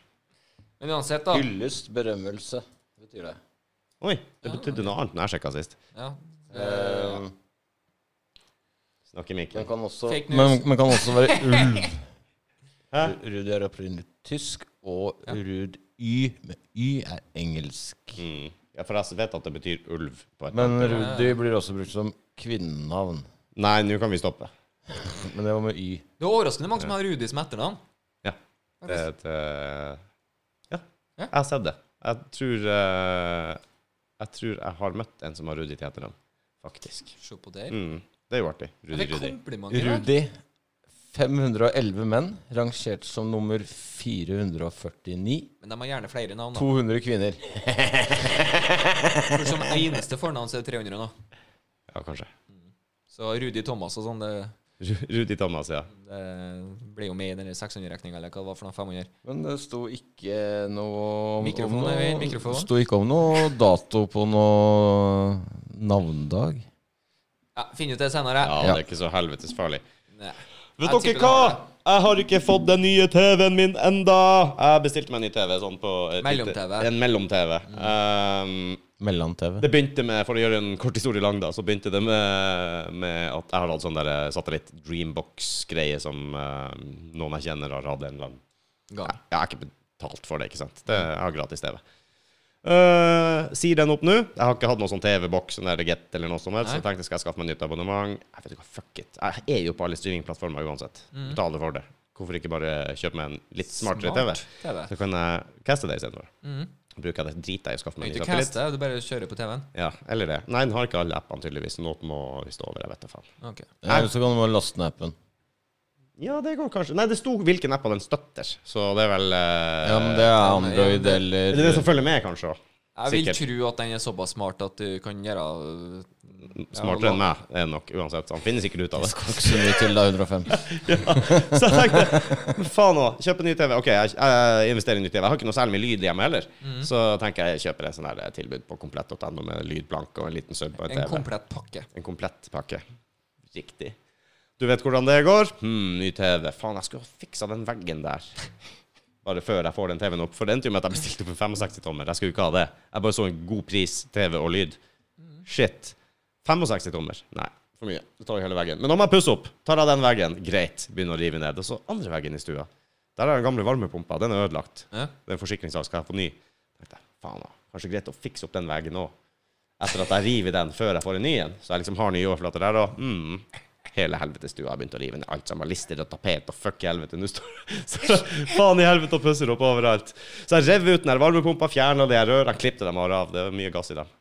S3: Men uansett, da.
S2: Hyllest, berømmelse, betyr det.
S1: Oi, det betydde noe annet når jeg sjekka sist.
S3: Ja.
S2: Eh,
S1: Snakker
S2: men
S1: Mikkel.
S2: kan også,
S3: Fake news.
S2: men, men kan også være ulv.
S1: Hæ?
S2: Ru- Rud er opprinnelig tysk, og Rud Y med Y er engelsk.
S1: Mm. Ja, for jeg vet at det betyr ulv. På et
S2: Men Rudi blir også brukt som kvinnenavn.
S1: Nei, nå kan vi stoppe.
S2: Men det var med Y.
S3: Det er overraskende mange som har Rudi som etternavn.
S1: Ja. Det, er et, eh, ja.
S3: Ja.
S1: Jeg har sett det. Jeg tror eh, Jeg tror jeg har møtt en som har Rudi til etternavn, faktisk.
S3: Se på der.
S1: Mm. Det er jo artig. Rudi
S3: Jeg fikk
S1: Rudi.
S3: komplimenter. i dag.
S2: Rudi. 511 menn, rangert som nummer 449.
S3: Men de har gjerne flere navn. da
S2: 200 kvinner.
S3: For Som eneste fornavn så er det 300 nå.
S1: Ja, kanskje.
S3: Så Rudi Thomas og sånn, det,
S1: Ru- Rudi Thomas, ja.
S3: det blir jo med i den 600-regninga, eller hva det var for noe 500.
S2: Men det sto ikke noe om
S3: Mikrofon,
S2: om noe-
S3: eller mikrofon?
S2: Sto ikke om noe dato på noe navndag.
S3: Ja, Finn ut det senere.
S1: Ja,
S2: Ja.
S1: det er ikke så helvetes farlig.
S3: Nei.
S1: Vet
S3: Jeg
S1: dere
S3: tipper
S1: hva? Jeg har ikke fått den nye TV-en min enda Jeg bestilte meg en ny TV sånn på et lite-
S3: Mellom-TV.
S1: En mellom-TV. Um,
S2: Mellom-TV.
S1: det begynte med, for å gjøre en kort historie lang, da, så begynte det med, med at jeg har hatt sånn der satellitt-dreambox-greie som eh, noen jeg kjenner har hatt en eller annen
S3: Gang.
S1: jeg, jeg har ikke betalt for det, ikke sant. Det, jeg har gratis TV. Eh, sier den opp nå. Jeg har ikke hatt noen sånn TV-boks eller Get eller noe som helst. Så jeg tenkte skal jeg skaffe meg nytt abonnement. Jeg vet ikke, hva, fuck it. Jeg er jo på alle streamingplattformer uansett. Betaler for det. Hvorfor ikke bare kjøpe meg en litt smartere
S3: Mm. Smart
S1: TV?
S3: TV.
S1: Så kan jeg caste det istedenfor.
S3: Mm.
S1: Bruker jeg det driter jeg i å skaffe
S3: Du
S1: meg
S3: er
S1: en ny
S3: ikke
S1: satellitt.
S3: caste, du bare kjører på TV-en.
S1: Ja, eller det. Nei, den har ikke alle appene, tydeligvis. Noen må vi stå over, jeg vet da faen.
S3: Ok.
S2: Ja, Eh, så kan du bare laste ned appen.
S1: Ja, det går kanskje. Nei, det sto hvilken app den støtter, så det er vel eh,
S2: Ja, men det er
S3: ja, men
S2: Android
S3: det-
S1: Det er det
S2: eller
S1: som følger med, kanskje. også.
S3: Jeg vil
S1: Sikkert.
S3: tro at den er såpass smart at du kan gjøre øh,
S1: Smartere enn meg er nok uansett. så Han finner sikkert ut av det.
S2: Ikke så mye til, da. 105.
S1: Så jeg tenkte men faen òg, kjøpe ny TV. Ok, jeg, jeg investerer i ny TV. Jeg har ikke noe særlig med lyd hjemme heller. Så tenker jeg jeg kjøper en sånn her tilbud på komplett.no med lydplanke og en liten sub på en
S3: eh, en
S1: TV.
S3: komplett pakke.
S1: En komplett pakke. Riktig. Du vet hvordan det går? Hm, ny TV. Faen, jeg skulle ha fiksa den veggen der. Bare før jeg får den TV-en opp. For det endte jo med at jeg bestilte på 65-tommer. Jeg skulle ikke ha det. Jeg bare så en god pris, TV og lyd. Shit. 65-tommer. Nei, for mye. Det tar jo hele veggen. Men nå må jeg pusse opp. Tar jeg den veggen, greit. Begynner å rive ned. Og så andre veggen i stua. Der er den gamle varmepumpa. Den er ødelagt.
S3: Ja.
S1: Den forsikringssak skal jeg få ny. Tenkte jeg, faen da. Kanskje greit å fikse opp den veggen òg. Etter at jeg river den før jeg får en ny en. Så jeg liksom har nye overflater der òg. Mm. Hele helvetes stua har begynt å rive ned alt sammen. Lister og tapet og fuck i helvete. Nå står så faen i helvete og pusser opp overalt. Så jeg rev ut den her varmepumpa, fjerna de her rørene, klippte dem bare av. Det var mye gass i dem.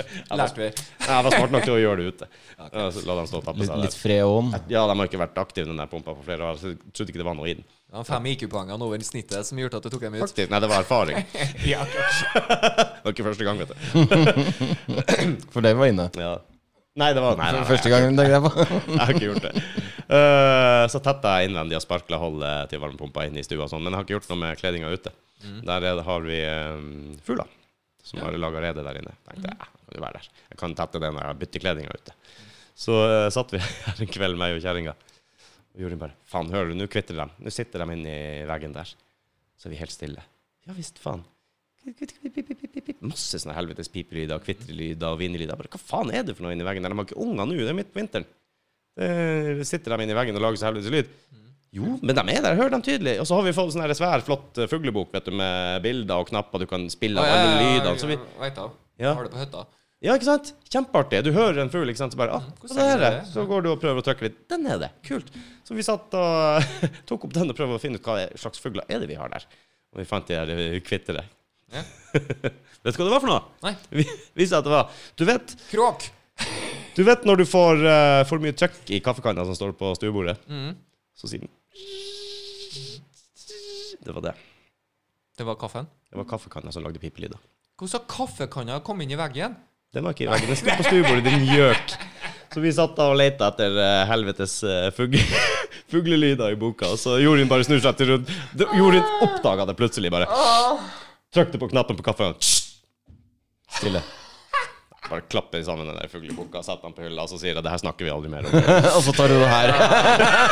S1: altså-
S3: Lærte vi.
S1: Ja, Jeg var smart nok til å gjøre det ute. Ja, Så la dem stå og tappe
S2: Litt,
S1: seg
S2: litt
S1: der.
S2: freon.
S1: Ja, de har ikke vært aktive, den der pumpa, på flere år. Så jeg trodde ikke det var noe i den.
S3: De fem IQ-poengene over snittet som gjorde at du tok dem ut.
S1: Faktisk, nei, det var erfaring.
S3: Ja.
S1: Det var ikke første gang, vet du.
S2: For det var inne.
S1: Ja. Nei, det var nei, nei, nei,
S2: Første gangen det greia på.
S1: Jeg har ikke gjort det. Eh, så tetta jeg innvendig og sparkla hullet til varmepumpa inne i stua, og sånn, men jeg har ikke gjort noe med kledninga ute. Der er, det- har vi um, fugler som har laga rede der inne. Tenkte jeg, kan du være der? Jeg kan tette det når jeg bytter kledninga ute. Så eh, satt vi her en kveld, meg og kjerringa, og Jorunn bare Faen, hører du, nå kvitter de. Nå sitter de inni veggen der. Så er vi helt stille. Ja visst, faen. Masse sånne helvetes pipelyder, kvitrelyder og vinelyder. Bare, Hva faen er det for noe inni veggen der? De har ikke unger nå, det er midt på vinteren. Eh, sitter de inni veggen og lager så helvetes lyd. Jo, men de er der, jeg hører dem tydelig. Og så har vi fått sånn her svær, flott eh, fuglebok vet du, med bilder og knapper du kan spille av alle lydene. Så altså, vi,
S3: Veit da.
S1: Ja.
S3: Har det på hytta.
S1: ja, ikke sant? Kjempeartig. Du hører en fugl, ikke sant? Så bare ah,
S3: hvordan
S1: hva er det?
S3: er det?
S1: Så går du og prøver å trykke litt. Den er det. Kult. Så vi satt og tok opp den og prøvde å finne ut hva slags fugler er det vi har der. Og vi fant de her eh, kvittere.
S3: Ja.
S1: vet du hva det var for noe?
S3: Nei.
S1: Vi viste at det var Du vet,
S3: Kråk.
S1: du vet når du får eh, for mye trøkk i kaffekanna som står på stuebordet,
S3: Mhm.
S1: så sier den Det var det.
S3: Det var kaffen.
S1: Det var kaffekanna som lagde pipelyder.
S3: Hvordan skal kaffekanna komme inn i veggen?
S1: Den var ikke i veggen. Den sto på stuebordet, den gjøk. Så vi satt da og leita etter eh, helvetes uh, fugl fuglelyder i boka, og så Jorunn bare snur seg til rundt. Det- Jorunn oppdaga det plutselig, bare. Trykte på knappen på kaffen.
S2: Stille.
S1: Bare klapper sammen den der fugleboka, setter den på hylla, og så sier jeg det her snakker vi aldri mer om.
S2: og så tar du det her.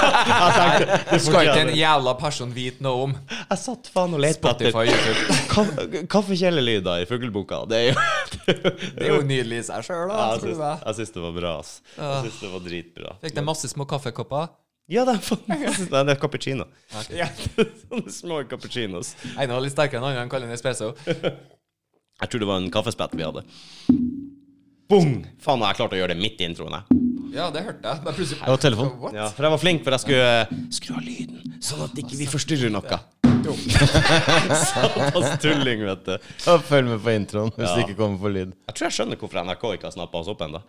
S3: Det skal ikke en jævla person vite noe om.
S1: Jeg satt faen og lette
S3: Spotify, YouTube.
S1: etter kaffekjelelyder i fugleboka. Det er jo
S3: Det er jo nydelig i seg sjøl, da.
S1: Jeg
S3: tror du
S1: syns,
S3: det?
S1: jeg syns det var bra, ass. Jeg syns det var dritbra.
S3: Fikk deg masse små kaffekopper?
S1: Ja, det er faen Nei, det er cappuccino.
S3: Ok.
S1: Sånne små cappuccinos.
S3: En var litt sterkere enn annen, han kaller den espresso.
S1: Jeg tror det var en kaffespett vi hadde. Bong! Faen, jeg klarte å gjøre det midt i introen, jeg.
S3: Ja, det hørte jeg. Bare plutselig
S2: Det var telefon.
S3: What?
S1: Ja, for jeg var flink, for jeg skulle eh, skru av lyden, sånn at ikke vi forstyrrer noe. Satans tulling, vet du.
S2: Ja, Følg med på introen hvis det ikke kommer for lyd.
S1: Jeg tror jeg skjønner hvorfor NRK ikke har snappa oss opp ennå.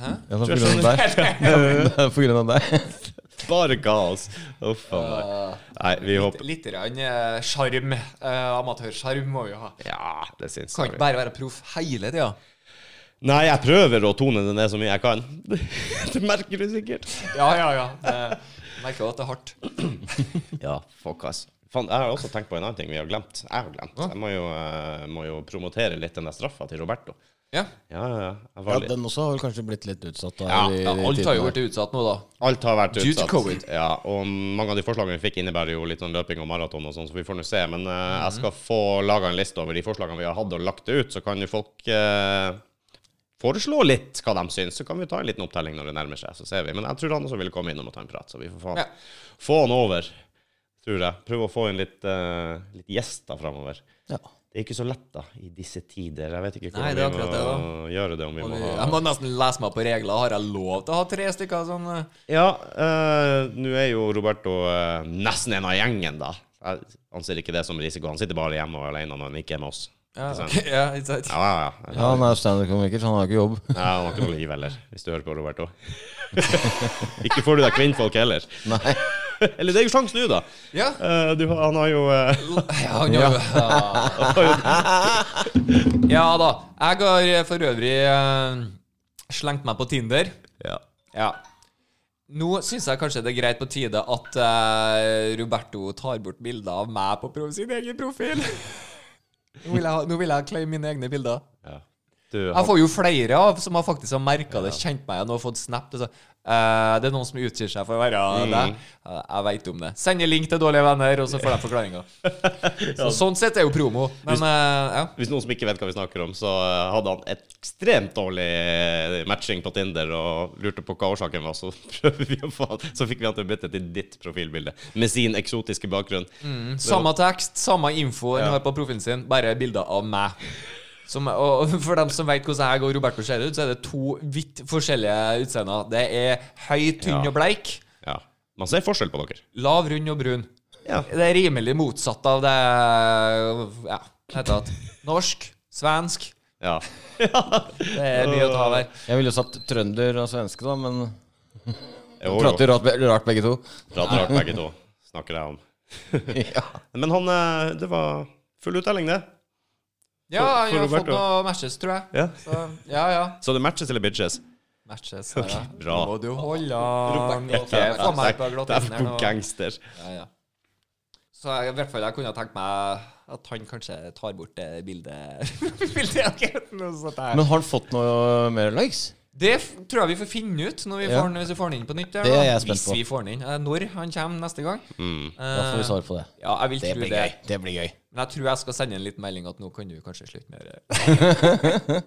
S2: Ja, det er på grunn av deg. Det er på grunn av deg.
S1: Bare kaos. Uff a meg.
S3: Ah.
S1: Nei, vi håper
S3: Litt grann, eh, sjarm. Eh, Amatørsjarm må vi jo ha.
S1: Ja, det syns
S3: Kan
S1: jeg.
S3: ikke bare være proff hele tida.
S1: Nei, jeg prøver å tone det ned så mye jeg kan. Det merker du sikkert.
S3: Ja, ja, ja. Det, merker jo at det er hardt.
S1: Ja, fuck ass. Fan, jeg har også tenkt på en annen ting vi har glemt. Jeg har glemt. Jeg må jo, eh, må jo promotere litt den der straffa til Roberto.
S3: Ja.
S1: Ja, ja, ja. Jeg
S2: Ja,
S1: var litt.
S2: den også har vel kanskje blitt litt utsatt. Da,
S1: Ja,
S2: i- i
S3: ja alt har jo
S2: tidene.
S3: blitt utsatt nå, da.
S1: Alt har vært
S3: Due to
S1: utsatt.
S3: covid.
S1: Ja, og mange av de forslagene vi fikk, innebærer jo litt sånn løping og maraton og sånn, så vi får nå se. Men eh, jeg skal få laga en liste over de forslagene vi har hatt, og lagt det ut. Så kan jo folk eh, foreslå litt hva de syns. Så kan vi ta en liten opptelling når det nærmer seg, så ser vi. Men jeg tror han også ville komme innom og ta en prat, så vi får faen
S3: Ja.
S1: få han over. Tror jeg. Prøve å få inn litt, eh, litt gjester framover.
S2: Ja.
S1: Det er ikke så lett da, i disse tider. Jeg vet ikke
S3: Nei,
S1: hvordan
S3: det
S1: vi må
S3: er akkurat det,
S1: gjøre det. om vi
S3: Og
S1: må
S3: du-
S1: ha...
S3: Jeg må nesten lese meg på regler. Har jeg lov til å ha tre stykker sånn eh?
S1: Ja, eh, nå er jo Roberto eh, nesten en av gjengen, da. Jeg anser ikke det som risiko. Han sitter bare hjemme og er alene når han ikke er med oss.
S3: Ja,
S1: Ikke sant?
S3: ok, ja, ikke sant?
S1: Ja, ja, ja.
S2: ja, han er standup-komiker, så han har ikke jobb.
S1: Nei, han har ikke noe liv heller, hvis du hører på, Roberto. ikke får du deg kvinnfolk heller.
S2: Nei.
S1: Eller det er jo sjansen nå, da.
S3: Ja.
S1: Eh, du, har- han har jo eh,
S3: Ja, han gjør jo Ja da. Jeg har eh, for øvrig eh, slengt meg på Tinder.
S1: ja.
S3: Ja. Nå syns jeg kanskje det er greit på tide at eh, Roberto tar bort bilder av meg på pro sin egen profil. Nå vil jeg, ha- nå vil jeg claim mine egne bilder.
S1: ja. Du,
S3: Jeg
S1: han,
S3: får jo flere av som har faktisk har merka det, kjent meg igjen og fått snap. Og så, eh, det er noen som utgir seg for å være
S1: Mm.
S3: deg. Eh, jeg veit om det. Sender link til dårlige venner, og så får de forklaringa. Så, sånn sett er jo promo. Men eh, ja.
S1: hvis noen som ikke vet hva vi snakker om, så eh, hadde han et ekstremt dårlig eh, matching på Tinder og lurte på hva årsaken var, så prøver vi å få han Så fikk vi han til å bytte til ditt profilbilde, med sin eksotiske bakgrunn.
S3: Samme tekst, samme info han har på profilen sin, bare bilder av meg. Som, og For dem som vet hvordan jeg og Roberto ser ut, så er det to vidt forskjellige utseender. Det er høy, tynn
S1: Ja.
S3: og bleik.
S1: Ja. Man ser forskjell på dere.
S3: Lav, rund og brun.
S1: Ja.
S3: Det er rimelig motsatt av det Ja, heter det norsk, svensk
S1: Ja.
S3: Det er mye å ta av her.
S2: Jeg ville jo satt trønder og svenske, da, men
S1: Jo, jo.
S2: prater rart, rart begge to.
S1: Prater rart begge to, snakker jeg om.
S2: Ja.
S1: Men han eh, Det var full uttelling, det.
S3: Ja,
S1: For- for
S3: jeg har fått
S1: Roberto.
S3: noen matches, tror jeg.
S1: Ja.
S3: Så, ja, ja.
S1: Så det matches eller bitches?
S3: Matches. Ja. ja.
S1: bra.
S3: Nå Må du holde an. Ikke få meg
S1: Det
S3: på
S1: er
S3: glattisen her
S1: på
S3: nå.
S1: gangster.
S3: Ja, ja. Så jeg, i hvert fall jeg kunne tenkt meg at han kanskje tar bort det bildet. bildet av gutten og sånt der.
S2: Men har han fått noe mer likes?
S3: det f- tror jeg vi får finne ut når vi
S2: Ja.
S3: får, den- hvis vi får den inn på nytt. ja,
S2: Det
S3: da.
S2: er jeg spent
S3: hvis
S2: på.
S3: vi får den inn. Eh, Når han kommer neste gang.
S2: Da får vi svar på det.
S3: Ja, jeg vil
S2: Det
S3: tro
S2: blir
S3: det.
S2: gøy. Det blir gøy.
S3: Men jeg tror jeg skal sende en liten melding at nå kan du kanskje slutte med det.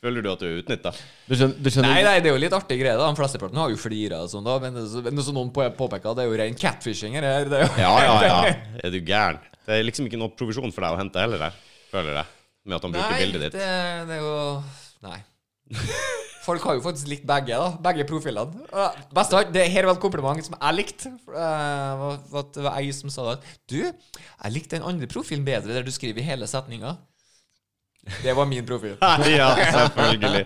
S1: Føler du at du er utnytta?
S2: Du skjønner, du skjønner
S3: Nei, nei, det er jo litt artig greie, da. Den flesteparten har jo flira og sånn, da. Men det er så- men det er som noen på- påpeker, det er jo ren catfishing her. her, Det er jo.
S1: Ja, ja, ja. Er du gæren? Det er liksom ikke noe provisjon for deg å hente heller, der, føler jeg. Med at han bruker
S3: Nei,
S1: bildet ditt.
S3: Det, det er jo Nei. Folk har jo faktisk likt begge, da. Begge profilene. Uh, Best av alt, det her var et kompliment som jeg likte. Uh, var- var at det var ei som sa det. Du, jeg likte den andre profilen bedre, der du skriver hele setninga. Det var min profil.
S1: ja, selvfølgelig.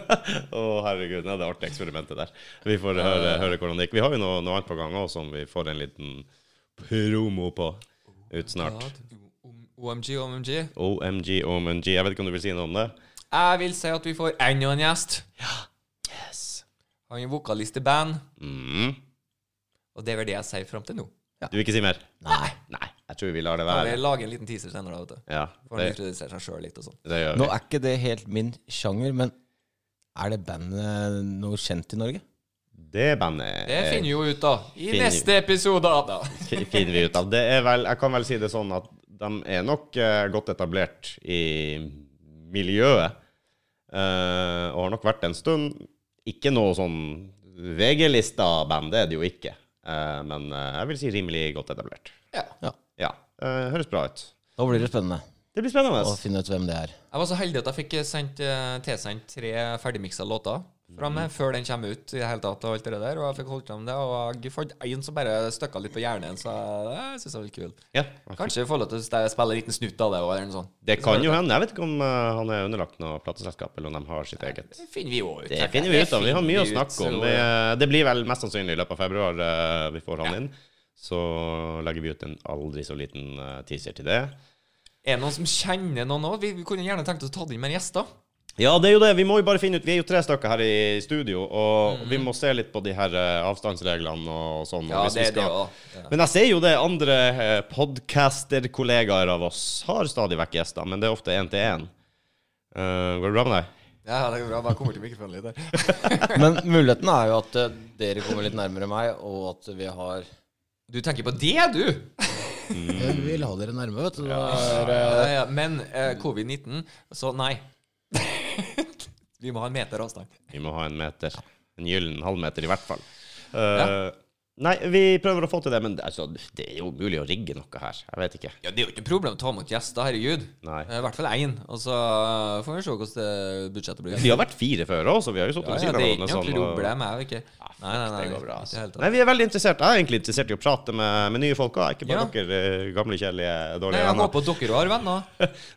S1: Å, herregud. Nei, det artige eksperimentet der. Vi får høre, høre hvordan det gikk. Vi har jo noe, noe annet på gang òg som vi får en liten promo på ut snart.
S3: OMG, OMG.
S1: OMG, OMG. Jeg vet ikke om du vil si noe om det?
S3: Jeg vil si at vi får enda en gjest.
S1: Yes.
S3: Han er vokalist i band.
S1: Mm.
S3: Og det er vel det jeg sier fram til nå.
S1: Du vil ikke si mer?
S2: Nei.
S1: Nei, jeg tror vi lar det
S3: Kan
S1: være.
S3: vi lage en liten teaser senere, da, vet du.
S1: Ja,
S3: For han
S1: det,
S3: introduserer seg sjøl litt og sånn.
S1: det gjør
S2: Nå
S1: vi.
S2: er ikke det helt min sjanger, men er det bandet noe kjent i Norge?
S1: Det bandet
S3: Det
S1: eh,
S3: finner vi jo ut, da. I
S1: Finner-
S3: neste episode, da.
S1: fi- finner vi ut av. Det er vel, jeg kan vel si det sånn at de er nok eh, godt etablert i miljøet. eh, og har nok vært en stund. Ikke noe sånn VG-lista-band, det er det jo ikke. Eh, men eh, jeg vil si rimelig godt etablert.
S3: Ja.
S2: Ja.
S1: Ja. eh, høres bra ut.
S2: Da blir det spennende
S1: Det blir spennende.
S2: å finne ut hvem det er.
S3: Jeg var så heldig at jeg fikk sendt, eh, tilsendt tre ferdigmiksa låter fra meg
S1: Mm.
S3: før den kommer ut i det hele tatt, og alt det der. Og jeg fikk holdt fram det, og jeg fant en som bare støkka litt på hjernen, så jeg, eh, jeg syns det var litt kul.
S1: Ja.
S3: Kanskje vi får lov til å st- spille en liten snutt av det òg, eller noe sånt.
S1: Det kan jo hende. Jeg vet ikke om eh, han er underlagt noe plateselskap, eller om de har sitt eget.
S3: Det finner vi jo ut.
S1: Det finner vi ut av. Vi har mye å snakke om.
S3: så-
S1: Vi, eh, det blir vel mest sannsynlig i løpet av februar eh, vi får han inn. Så legger vi ut en aldri så liten eh, teaser til det.
S3: Er det noen som kjenner noen òg? Vi, vi kunne gjerne tenkt oss å ta inn mer gjester.
S1: Ja, det er jo det. Vi må jo bare finne ut Vi er jo tre stykker her i studio, og vi må se litt på de her eh, avstandsreglene og sånn. og
S3: Mhm. Ja,
S1: hvis vi
S3: det er det
S1: skal-
S3: òg.
S1: Men jeg ser jo det andre eh, podcaster-kollegaer av oss har stadig vekk gjester, men det er ofte én til én. Eh, går det bra med deg?
S3: Ja, det går bra. Bare kom bort til mikrofonen litt der.
S2: Men muligheten er jo at eh, dere kommer litt nærmere meg, og at vi har
S3: Du tenker på det, du?
S2: Jeg vil ha dere nærme, vet du.
S3: Ja, ja, men eh, covid-19, så nei. Vi må ha en meter avstand.
S1: Vi må ha en meter. En gyllen halvmeter, i hvert fall. Eh, Nei, vi prøver å få til det, men det- altså, det er jo mulig å rigge noe her. Jeg vet ikke.
S3: Ja, Det er jo ikke noe problem å ta imot gjester, herregud.
S1: Nei.
S3: Eh, I hvert fall én. Og så eh, får vi se hvordan det budsjettet blir.
S1: Vi har vært fire før òg, så vi har jo sittet
S3: Ja,
S1: ved
S3: ja,
S1: siden av
S3: det er
S1: hverandre.
S3: ikke noe
S1: Sånn, og-
S3: problem. Jeg, vet ikke. Nei, nei, nei,
S1: det går bra.
S3: ikke helt
S1: Altså.
S3: tatt.
S1: Nei, vi er veldig interessert. Jeg er egentlig interessert i å prate med, med nye folk òg, ikke bare
S3: Ja.
S1: dere eh, gamle, kjedelige,
S3: Nei,
S1: dårlige
S3: jeg
S1: venner.
S3: håper dere har venner.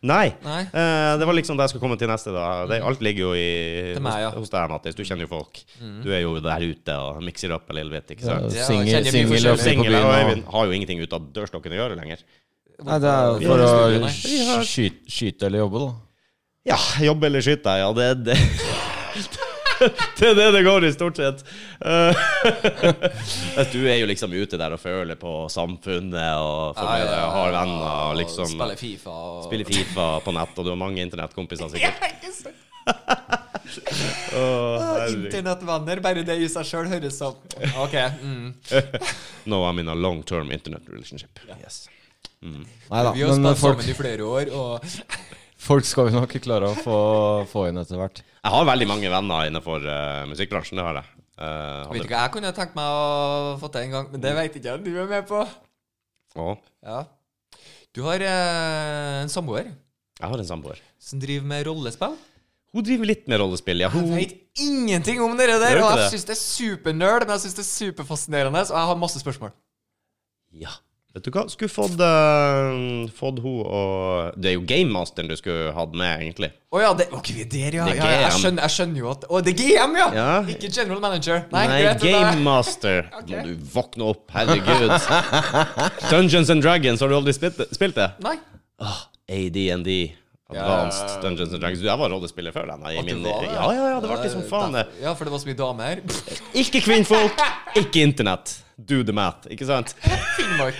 S1: Nei.
S3: Nei. Mm.
S1: Eh, det var liksom det jeg skulle komme til neste. da det, Alt ligger jo i,
S3: Til meg, ja. Mm.
S1: hos, hos deg, Mattis. Du kjenner jo folk. Du er jo der ute og mikser opp en lille bit, ikke sant?
S3: Ja,
S2: Singel
S3: kjenner mye
S2: singel
S3: forskjellig.
S2: og fri på
S1: Singel og
S2: byen.
S1: Øyvind har jo ingenting ut av dørstokken å gjøre lenger.
S2: og- Nei, det er jo for
S3: Ja,
S2: å
S3: det er
S2: sk-
S3: studiene.
S2: skyte, skyte eller jobbe, da.
S1: Ja, jobb eller skyte, ja. Det er det. Det er det det går i, stort sett. Eh, at du er jo liksom ute der og føler på samfunnet og får med deg og har venner og liksom
S3: Spiller Fifa og
S1: spiller Fifa på nett, og du har mange internettkompiser sikkert.
S3: Ah, Internettvenner, bare det i seg sjøl høres sånn OK. Mm.
S1: No, I'm in a long term internet relationship. Yes.
S2: Nei da,
S3: Vi har
S2: men
S3: spilt
S2: folk,
S3: sammen i flere år, og
S2: folk skal vi nok klare å få, få inn etter hvert.
S1: Jeg har veldig mange venner innenfor eh, musikkbransjen, det har jeg. Eh,
S3: Vet du
S1: hadde,
S3: hva jeg kunne tenkt meg å få til en gang, men det
S1: Mm.
S3: vet ikke jeg du er med på.
S1: Å,
S3: Ja. Du har eh, en samboer
S1: jeg har en samboer.
S3: som driver med rollespill.
S1: Hun driver litt med rollespill, ja.
S3: Jeg
S1: Hun,
S3: vet ingenting om dere
S1: Oh. Gjør
S3: der,
S1: du
S3: og
S1: ikke
S3: jeg
S1: det?
S3: syns det er supernerd, men jeg syns det er superfascinerende, og jeg har masse spørsmål.
S1: Ja. Vet du hva, skulle fått, eh, fått hun og Det er jo gamemasteren du skulle hatt med, egentlig.
S3: Å ja, det, ok, vi er der, ja.
S1: Det er
S3: ja jeg,
S1: GM.
S3: skjønner, jeg skjønner jo at Å, det er GM, ja!
S1: Ja.
S3: Ikke general manager. Nei, greit, det er-
S1: gamemaster.
S3: Ok.
S1: Må du våkne opp, herregud. Dungeons and Dragons, har du aldri spilt, spilt det?
S3: Nei.
S1: Ah, AD&D. Advanced Dungeons and Dragons. Jeg var rollespiller før den. Jeg, i
S3: At du
S1: min,
S3: var det?
S1: ja, ja, ja, det var ikke som faen, det.
S3: Ja, for det var så mye damer.
S1: Ikke kvinnfolk, ikke internett. Do the math, ikke sant?
S3: Finnmark.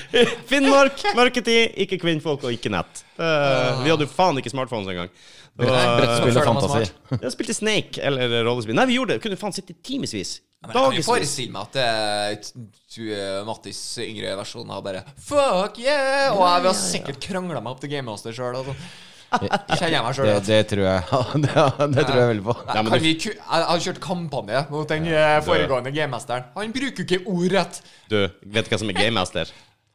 S1: Finnmark, mørketid, ikke kvinnfolk og ikke nett. Eh, vi hadde jo faen ikke smartphones engang. Det var-
S2: Brettspill og
S3: Føler man
S2: fantasi.
S3: smart?
S1: Jeg spilte Snake eller rollespill. Nei, vi gjorde det. Kunne faen sitte i timevis.
S3: Men jeg kan jo
S1: Dagevis.
S3: forestille meg at eh, t- t- eh, Mattis yngre versjon har bare Fuck yeah! Og jeg vil ha sikkert krangla meg opp til Game Master sjøl. Altså. Kjenner jeg meg sjøl
S2: Det,
S3: rett.
S2: det tror jeg det, det tror jeg veldig på.
S1: Ja, men
S3: Kan
S1: du-
S3: vi ku- Jeg jeg har kjørt kampanje mot den eh, foregående gamemesteren. Han bruker jo ikke ord rett.
S1: Du, vet du hva som er gamemaster?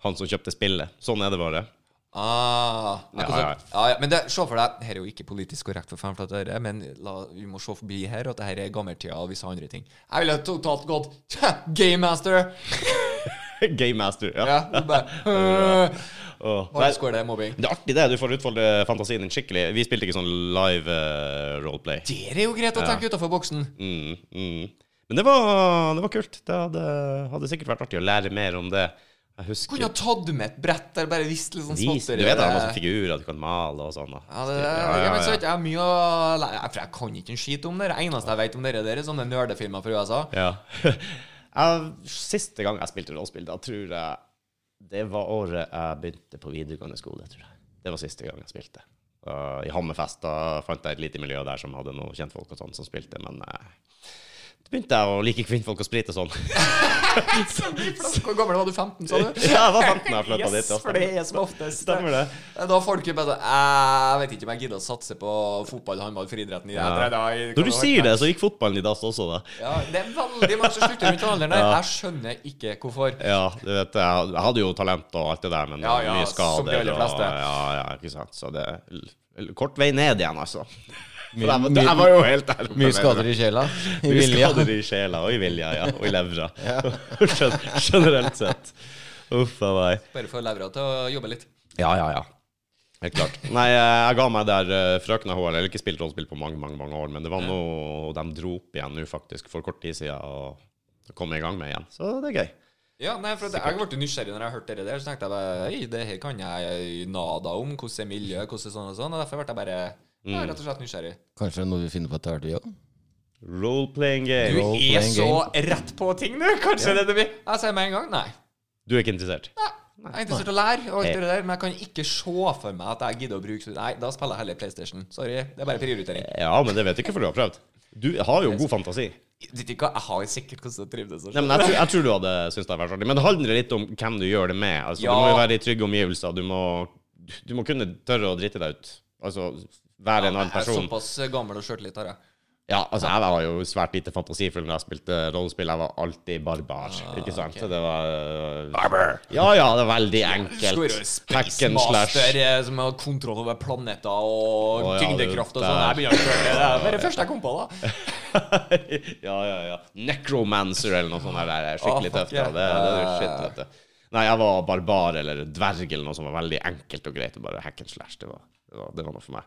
S1: Han som kjøpte spillet. Sånn er det bare.
S3: Ah,
S1: Ja,
S3: akkurat
S1: ja.
S3: sånn. ja, ja. Men det, se for deg Her er jo ikke politisk korrekt for faen for dette, men la, vi må se forbi her at det her er gammeltida og visse andre ting. Jeg ville totalt gått Game Master!
S1: Gamemaster. Ja.
S3: Ja, du bare øh,
S1: Åh,
S3: Bare
S1: nei,
S3: skår det er mobbing.
S1: det er artig, det. Du får utfolde fantasien din skikkelig. Vi spilte ikke sånn live eh, roleplay.
S3: Det er jo greit å tenke utenfor boksen.
S1: Mm, mm. Men det var, det var kult. Det hadde, hadde sikkert vært artig å lære mer om det. Jeg husker
S3: Kunne ha tatt med et brett der bare vist litt sånn
S1: Vis, du
S3: småtteri.
S1: vet det er masse figurer du kan male og sånn. da.
S3: Ja, det, ja,
S1: Ja, ja,
S3: men så
S1: ja.
S3: vet jeg, jeg har mye å lære, for jeg kan ikke en skit om det. Det eneste jeg vet om dere, dere er sånne nerdefilmer fra USA.
S1: Ja. Jeg, siste gang jeg spilte rollespill, da tror jeg det var året jeg begynte på videregående skole. tror jeg. Det var siste gang jeg spilte. Uh, I Hammerfest da fant jeg et lite miljø der som hadde noen kjentfolk og sånn som spilte, men uh, da begynte jeg å like kvinnfolk og sprit og sånn.
S3: Hvor gammel var du? 15, sa du?
S1: Ja, jeg var 15 da jeg flytta dit.
S3: Yes,
S1: ja,
S3: for det er som oftest.
S1: altså. Stemmer det.
S3: Da folk er bare sånn Jeg vet ikke om jeg gidder å satse på fotball, håndball, friidretten i det her, da, i-
S1: Når du sier det, så gikk fotballen i dass også, da.
S3: ja, Det er veldig mange som slutter rundt den alderen der. Jeg skjønner ikke hvorfor.
S1: Ja, du vet, jeg jeg hadde jo talent og alt det der, men det
S3: Ja,
S1: var
S3: ja,
S1: mye skader.
S3: som de aller fleste.
S1: Og, ja, ja, ikke sant. Så det er l- l- kort vei ned igjen, altså. For
S2: Mye-
S1: jeg, var- jeg var jo helt ærlig.
S2: Mye skader i sjela. I
S1: Mye
S2: vilja.
S1: skader i sjela og i vilja, ja. Og i levra. Skjøn- Generelt sett. Uff a meg.
S3: Bare for levra til å jobbe litt.
S1: Ja, ja, ja. Helt klart. Nei, eh, jeg ga meg der eh, Frøkna HL. Jeg har ikke spilt rollespill på mange mange, mange år, men det var noe de dro opp igjen nå faktisk for kort tid siden, og kom jeg i gang med igjen. Så det er gøy.
S3: Ja, nei, for at Jeg ble nysgjerrig når jeg hørte dere der. Så tenkte jeg bare, Hei, det her kan jeg nada om. Hvordan er miljøet? Hvordan er sånn og sånn? Og Derfor ble jeg bare ja, rett og slett nysgjerrig.
S2: Kanskje det er noe vi finner på etter hvert, vi òg.
S1: Role-playing game.
S3: Du
S2: Role
S3: er
S2: playing
S3: så rett på ting nå! Kanskje det det blir? Jeg sier med en gang nei.
S1: Du er ikke interessert?
S3: Nei, Jeg er interessert i å lære, og alt det der, men jeg kan ikke se for meg at jeg gidder å bruke så- Nei, da spiller jeg heller PlayStation. Sorry. Det er bare prioritering.
S1: Ja, men det vet jeg ikke før du har prøvd. Du har jo god fantasi.
S3: Vet ikke hva, Jeg har sikkert hvordan jeg trivdes. og
S1: Nei,
S3: sånn.
S1: men jeg, tror- jeg tror du hadde syntes det hadde vært artig. Men det handler litt om hvem du gjør det med. Altså,
S3: Ja.
S1: Du må jo være i trygge omgivelser. Du må, du må kunne tørre å drite deg ut. Altså være en annen
S3: Jeg er
S1: person.
S3: såpass gammel og sjøltillit har jeg.
S1: Ja, altså jeg var jo svært lite fantasifull når jeg spilte rollespill. Jeg var alltid barbar,
S3: Ah,
S1: ikke sant? Så det var Barbar! Ja, ja, det var veldig enkelt. Hack and slash.
S3: Spacemaster eh, som har kontroll over planeter og
S1: Å, ja,
S3: tyngdekraft og
S1: det-
S3: sånn. Jeg begynner å føle det. Det er bare det første jeg kom på, da.
S1: ja, ja, ja. Necromancer eller noe sånt der. det er
S3: Å,
S1: Skikkelig
S3: Ah, fuck
S1: tøft. Ja.
S3: yeah.
S1: Det, det er jo shit, vet du. Nei, jeg var barbar eller dverg eller noe som var veldig enkelt og greit. og Bare hack and slash. Det var, det var, det var noe for meg.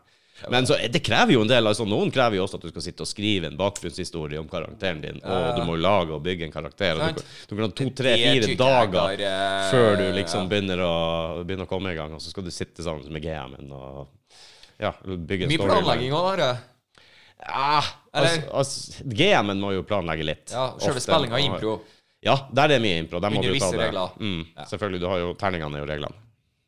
S1: Men så, eh, det krever jo en del. altså Noen krever jo også at du skal sitte og skrive en bakgrunnshistorie om karakteren din, og du må lage og bygge en karakter. Og du,
S3: Sant.
S1: kan- du kan ha to-tre-fire
S3: Det tykker jeg
S1: dager
S3: er, eh,
S1: før du liksom begynner å, begynner å komme i gang, og så skal du sitte sammen med GM-en og ja, bygge en
S3: Mye
S1: storyline.
S3: planlegging òg, da. Are.
S1: Ah,
S3: Eller-
S1: altså, altså, GM-en må jo planlegge litt.
S3: Ja, Selve
S1: Ofte.
S3: spillinga i impro.
S1: Ja, der er det mye impro. Der må
S3: Under
S1: du ta
S3: visse
S1: det.
S3: regler.
S1: Mm, Selvfølgelig. Du har jo terningene er jo reglene.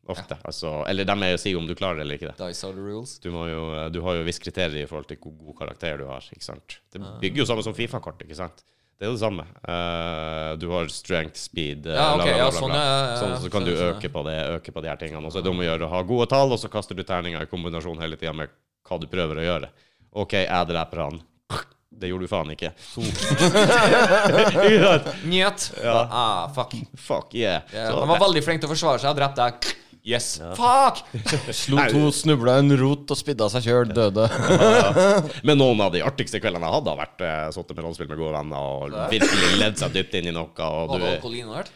S1: Ofte. Altså, eller de er jo sier om du klarer det eller ikke. det.
S3: Dice are the rules.
S1: Du, må jo, eh, du har jo visse kriterier i forhold til hvor god karakter du har. ikke sant? Det
S3: Ah.
S1: bygger jo samme som Fifa-kort, ikke sant? Det er jo det samme. Eh, du har strength, speed eh,
S3: Ja, ok, ja, sånn,
S1: Sånn,
S3: ja, ja, ja.
S1: så kan du
S3: Skjønner, skjønner.
S1: øke på det, øke på de her tingene. Og så er det om å gjøre å ha gode tall, og så kaster du terninger i kombinasjon hele tida med hva du prøver å gjøre. OK, jeg dreper han. Det gjorde du faen ikke. Ikke sant?
S3: Njet. Ah, fuck.
S1: Fuck yeah.
S3: Ja,
S1: Så-
S3: han var veldig flink til å forsvare seg. Jeg drepte deg. Yes. Fuck!
S2: Slo to, snubla en rot og spidda seg sjøl, døde.
S1: Men noen av de artigste kveldene jeg hadde, har vært eh, sittet med rollespill med gode venner og virkelig ledd seg dypt inn i noe. Og du,
S3: Var det
S1: er-
S3: alkohol involvert?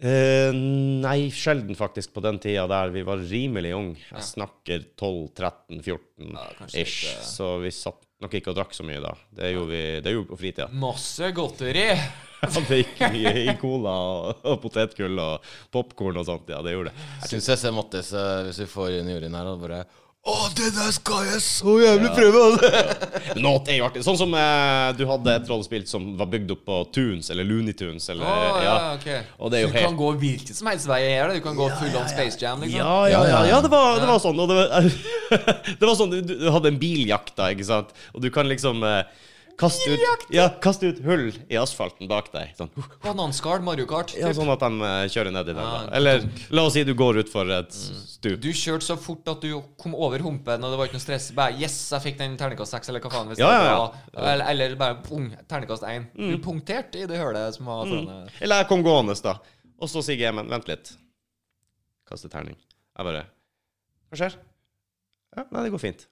S1: Eh, nei, sjelden faktisk på den tida der vi var rimelig unge. Jeg snakker 12-13-14
S3: kanskje litt, eh.
S1: ish. Så vi satt nok ikke og drakk så mye da. Det gjorde vi det gjorde vi på fritida.
S3: Masse godteri.
S1: Hadde ikke mye i cola og, og potetgull og popkorn og sånt. Ja, det gjorde det.
S2: Jeg syns jeg ser Mattis eh, hvis vi får inn juryen her, og bare Å, det der skal jeg så jævlig prøve! altså!»
S1: Not er jo artig. Sånn som eh, du hadde et rollespill som var bygd opp på Tunes, eller Looney Tunes, eller
S3: Å,
S1: Eh, ja.
S3: ja, ok.
S1: Og det er jo
S3: Du
S1: helt
S3: kan gå hvilken som helst vei her. da. Du kan gå full on Space Jam, liksom.
S1: Ja, ja, ja, ja det, var, det var sånn. Og det, var, det var sånn, du, du hadde en biljakt da, ikke sant? Og du kan liksom eh, kaste, ut, ja, kaste ut hull i asfalten bak deg. Sånn, uh,
S3: Bananskall, Mario Kart.
S1: ja,
S3: typ.
S1: sånn at de eh, kjører ned i den. Da. Eller la oss si du går utfor et stup.
S3: Du kjørte så fort at du kom over humpen, og det var ikke noe stress. Bare 'yes, jeg fikk den terningkast 6', eller hva faen. Hvis
S1: Ja, ja, Mm. ja.
S3: det var, eller, eller bare pung, terningkast 1. Du punkterte i det hølet som
S1: Mm.
S3: var foran deg.
S1: Eller jeg kom gående, da. Og så sier GM-en, vent litt. Kaste terning. Jeg bare Hva skjer? Ja, nei, det går fint.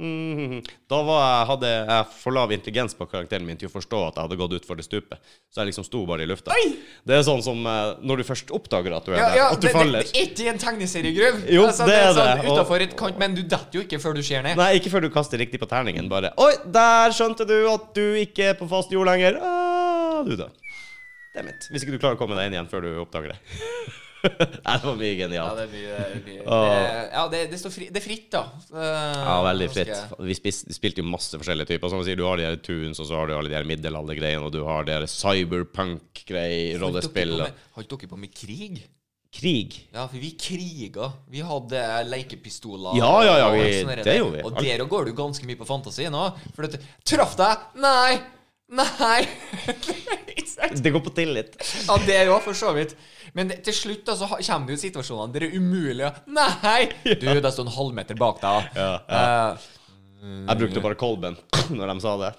S1: Mhm. Da var jeg, hadde jeg for lav intelligens på karakteren min til å forstå at jeg hadde gått utfor det stupet. Så jeg liksom sto bare i lufta. Det er sånn som eh, når du først oppdager at du er
S3: Ja,
S1: der,
S3: ja,
S1: at du
S3: det,
S1: faller.
S3: det, det er ikke en tegneseriegrøv.
S1: Jo, det er
S3: sånn
S1: det, og-
S3: Utenfor et kant, men du detter jo ikke før du ser ned.
S1: Nei, ikke før du kaster riktig på terningen. Bare Oi, der skjønte du at du ikke er på fast jord lenger. Ah, du da. Dammit. Hvis ikke du klarer å komme deg inn igjen før du oppdager det. Nei, det var mye
S3: Ja,
S1: genialt.
S3: det er mye, mye. Det, ja, det, det, står fri, det er fritt, da. Eh,
S1: Ja, veldig
S3: ganske-
S1: fritt. Vi spis, spilte jo masse forskjellige typer. Som du sier, du har de her tunes, og så har du alle de her middelaldergreiene, og du har de her cyberpunk-greier,
S3: Holdt dere
S1: rollespill
S3: på
S1: og
S3: med- Holdt dere på med krig?
S1: Krig.
S3: Ja, for vi kriga. Vi hadde lekepistoler.
S1: Ja, ja, ja,
S3: og
S1: vi-
S3: sånne
S1: det
S3: der.
S1: gjorde vi.
S3: Og der går du ganske mye på fantasi nå. For at Traff deg? Nei! Nei!
S1: Det går på tillit.
S3: ja, det òg, for så vidt. Men det, til slutt da, så ha- kommer du i situasjonene der det er umulig å Nei! Du, det står en halvmeter bak deg. Eh, Ja,
S1: Jeg brukte bare kolben når de sa det.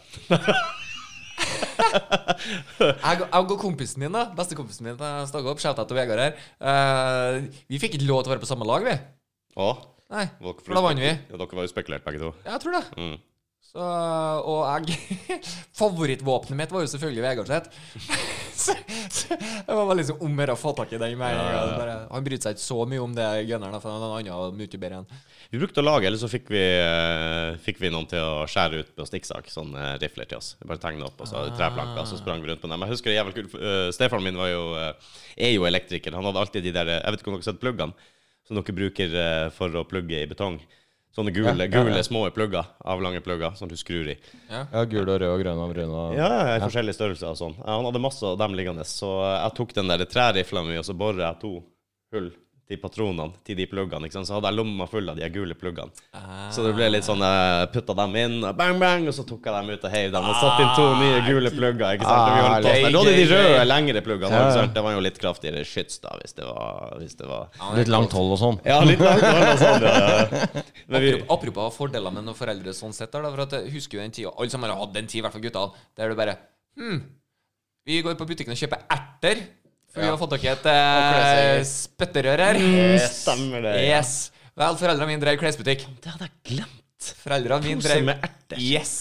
S3: Jeg, og- jeg og kompisen min, da bestekompisen min, da, stakk opp. Shout-out til Vegard her. Eh, vi fikk ikke lov til å være på samme lag, vi.
S1: Å,
S3: Nei,
S1: dere
S3: For da vant vi.
S1: Ja, dere var jo spekulert, begge to.
S3: Jeg tror det.
S1: Mm.
S3: Så, og jeg Favorittvåpenet mitt var jo selvfølgelig Vegard sitt. så, så det var bare liksom om å gjøre å få tak i den med en gang.
S1: Ja, ja, ja.
S3: Bare- Han brydde seg ikke så mye om det gunneren, for han andre var mye bedre enn
S1: Vi brukte å lage, eller så fikk vi, eh, fikk vi noen til å skjære ut på stikksag, sånn eh, rifler til oss. Vi Bare tegne opp, og så hadde vi treplanker, så sprang vi rundt på dem. Jeg husker det jævlig kult. eh, Stefaren min var jo, eh, er jo elektriker. Han hadde alltid de der, eh, jeg vet ikke om dere har sett pluggene, som dere bruker eh, for å plugge i betong. Sånne gule,
S2: Ja, ja, ja.
S1: gule små plugger, avlange plugger, som du skrur i.
S2: Ja, gul og rød og grønn og brun og
S1: Ja, ja, i forskjellige størrelser og sånn. Ja, Han hadde masse av dem liggende, så jeg tok den der trærifla mi, og så boret jeg to hull til patronene til de pluggene. ikke sant? Så hadde jeg lomma full av de her gule pluggene. Så det ble litt sånn eh, Putta dem inn, og bang, bang, og så tok jeg dem ut og heiv dem. Og satte inn to nye gule plugger. ikke sant? Og vi holdt på sånn. Da hadde de røde lengre pluggene. ikke sant? Det var jo litt kraftigere skyts, da, hvis det var, hvis det var
S2: Litt langt hold og sånn.
S1: Ja, litt langt hold og sånn. Ja. Men vi,
S3: Apropos- Apropos fordeler med noen foreldre sånn sett, der, da, for at jeg husker jo den tida Alle sammen har hatt den tida, i hvert fall gutta, der du bare Hm, vi går på butikken og kjøper erter, for vi har fått tak i et eh, spytterør her.
S1: Mm. stemmer det, ja.
S3: Yes. Vel, foreldrene mine drev klesbutikk.
S1: det hadde jeg glemt.
S3: Foreldrene mine
S1: Pose
S3: drev
S1: med erter.
S3: Yes!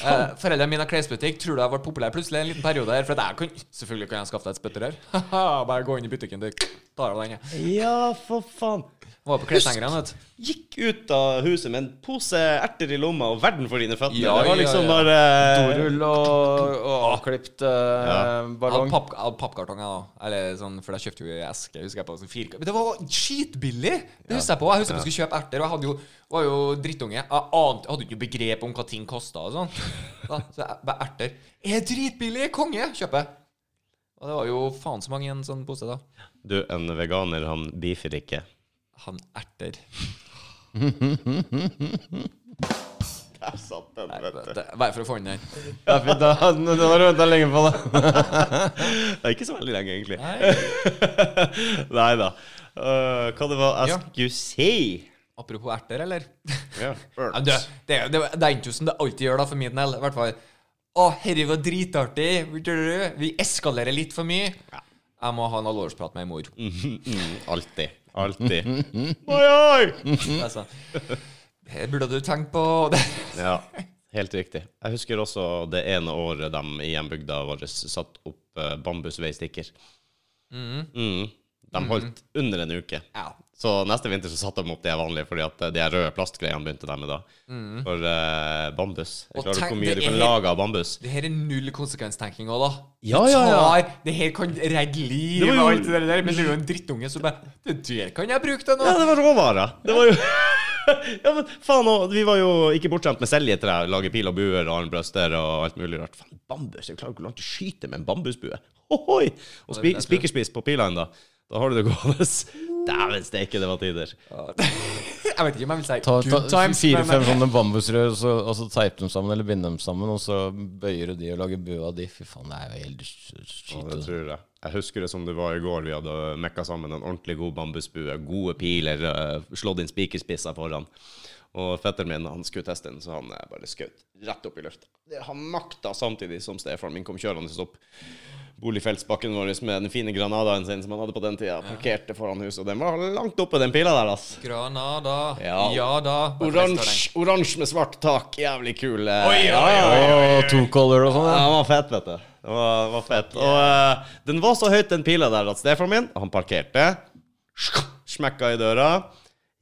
S3: Eh, foreldrene mine har klesbutikk. Tror du jeg ble populær plutselig en liten periode her? For at jeg kan, selvfølgelig kan jeg skaffe deg et spytterør. Haha, Bare gå inn i butikken, du. Tar av den. jeg.
S1: Ja, for faen.
S3: Var på kleshengeren, vet du.
S1: gikk ut av huset med en pose erter i lomma og verden for dine føtter.
S3: Ja,
S1: det var
S3: ja,
S1: liksom
S3: ja.
S1: bare
S2: Dorull og, og avklipt eh,
S3: Jeg hadde
S2: ballong.
S3: papp, jeg hadde pappkartong, jeg da. Eller sånn, for jeg kjøpte jo i eske. husker jeg på sånn firkant. Men det var skitbillig! Det husker jeg på. Jeg husker jeg skulle kjøpe erter, og jeg hadde jo, var jo drittunge. Jeg ante, jeg hadde jo ikke begrep om hva ting kosta og sånn. Da, så jeg, bare erter. Er dritbillig! Konge! Kjøper. Og det var jo faen så mange i en sånn pose, da.
S1: Du, en veganer, han beefer ikke.
S3: Han erter.
S1: Der satt den, vet du.
S3: Det- Bare for å få inn den.
S2: Ja, fy, da- Den har du venta lenge på, da.
S1: Det er ikke så veldig lenge, egentlig. Nei da. Øh, hva det var jeg
S3: Ja.
S1: skulle si?
S3: Apropos erter, eller?
S1: Ja.
S3: Ja, men du, det, er jo- det, er- det er ikke jo som det alltid gjør, da, for min del. I hvert fall. Å, herre, var dritartig! Vi eskalerer litt for mye. Jeg må ha en alvorsprat med mor.
S1: Mhm. Mm, Alltid. Alltid. Oi, oi!
S3: Altså, det burde du tenkt på. Det.
S1: Ja, helt riktig. Jeg husker også det ene året de i hjembygda vår satt opp eh, bambusveistikker. Mm. De holdt under en uke.
S3: Ja.
S1: Så neste vinter så satte de opp de vanlige, fordi at de her røde plastgreiene begynte de med da. For eh, bambus.
S3: Mm. Og
S1: Jeg klarer
S3: tenk,
S1: ikke hvor mye
S3: det
S1: du kan
S3: er-
S1: lage av bambus.
S3: Det her er null konsekvenstenking òg, da.
S1: Ja, ja, ja.
S3: Tar, det her kan redde liv
S1: Det var
S3: og
S1: jo-
S3: alt det der, men det er jo en drittunge som bare Det der kan jeg bruke til
S1: Ja,
S3: noe!
S1: det var råvarer. Det var jo Ja, men faen òg. Vi var jo ikke bortskjemt med seljetrær, lage pil og buer og armbrøster og alt mulig rart. Faen, bambus. Jeg klarer ikke hvor langt du skyter med en bambusbue. Hohoi! Og spi spikerspiss på pila ennå. Da har du det gående. Dæven steike, det var tider.
S3: Jeg vet ikke om jeg vil si
S2: Ta,
S3: good
S2: ta
S3: times, men-
S2: fire-fem sånne bambusrør, og så, og så teipe dem sammen eller binde dem sammen, og så bøyer du de og lager bue av de. Fy faen, det er jo helt altså.
S1: Ja, det
S2: skyte.
S1: tror jeg. Jeg husker det som det var i går. Vi hadde mekka sammen en ordentlig god bambusbue, gode piler, eh, slått inn spikerspisser foran. Og fetteren min han skulle teste den, så han eh, bare skjøt rett opp i lufta. Det Han makta samtidig som stefaren min kom kjørende opp boligfeltsbakken vår med den fine granadaen sin som han hadde på den tida. Parkerte foran huset, og den var langt oppe, den pila der, altså.
S3: Granada.
S1: Ja.
S3: Ja, da.
S1: Oransje oransje med svart tak. Jævlig kul. eh,
S3: Oi, oi,
S1: ja,
S3: oi,
S1: ja, ja.
S2: Og two color og sånn.
S1: Ja,
S2: Ja.
S1: den var fett, vet du. Den var, den var fett. Og eh, den var så høyt, den pila der, at stefaren min Han parkerte, sk- smekka i døra,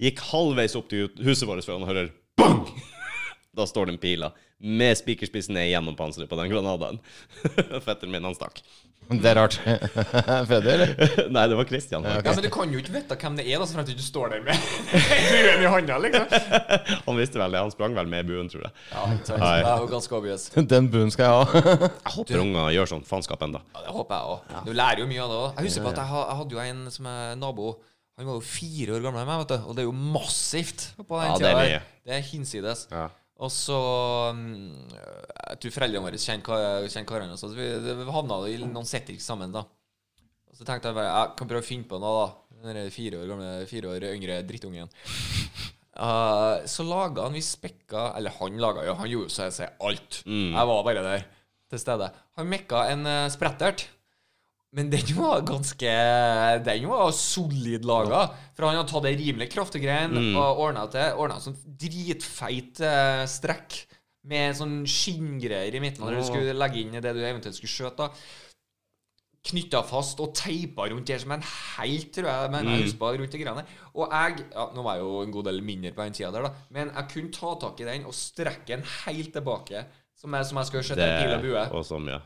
S1: gikk halvveis opp til huset vårt før han hører bang! Da står den pila med spikerspissen ned gjennom panseret på den granadaen. Fetteren min, han stakk.
S2: Det er rart. Føder?
S1: Nei, det var Christian.
S3: Ja, men du kan jo ikke vite hvem det er, da, så frem til du står der med buen i hånda, liksom.
S1: Han visste vel det. Han sprang vel med buen, tror jeg.
S3: Ja, ikke sant. det er jo ganske obvious.
S2: Den bunnen skal jeg ha.
S1: Jeg håper unger gjør sånn faenskap enda.
S3: Ja, det håper jeg òg. Du lærer jo mye av det òg. Jeg husker på at jeg, ha- jeg hadde jo en som er nabo. Han var jo fire år gammere enn meg, vet du. Og det er jo massivt på den
S1: Ja, det
S3: tida.
S1: er
S3: der.
S1: mye.
S3: Det er hinsides.
S1: Ja.
S3: Og så mm, Jeg tror foreldrene våre kjenner hva- kjenner hverandre, så vi, vi havna i noen settinger sammen, da. Og så tenkte jeg bare Jeg kan prøve å finne på noe, da. Den der fire år gamle, fire år yngre drittungen. Eh, så laga han Vi spekka Eller han laga jo Han gjorde jo så jeg sier alt. Jeg var bare der til stede. Han mekka en eh, sprettert. Men den var ganske Den var solid laga. For han hadde tatt ei rimelig kraftig grein og ordna til Ordna sånn dritfeit eh, strekk med sånn skinngreier i midten når du skulle legge inn det du eventuelt skulle skjøte. da. Knytta fast og teipa rundt der som en helt, tror jeg. Men jeg husker bare rundt de greiene. der. Og jeg ja, Nå var jeg jo en god del mindre på den tida der, da. Men jeg kunne ta tak i den og strekke den helt tilbake. Som jeg, som jeg skulle skjøtte en pil og bue.
S1: og sånn, så mye.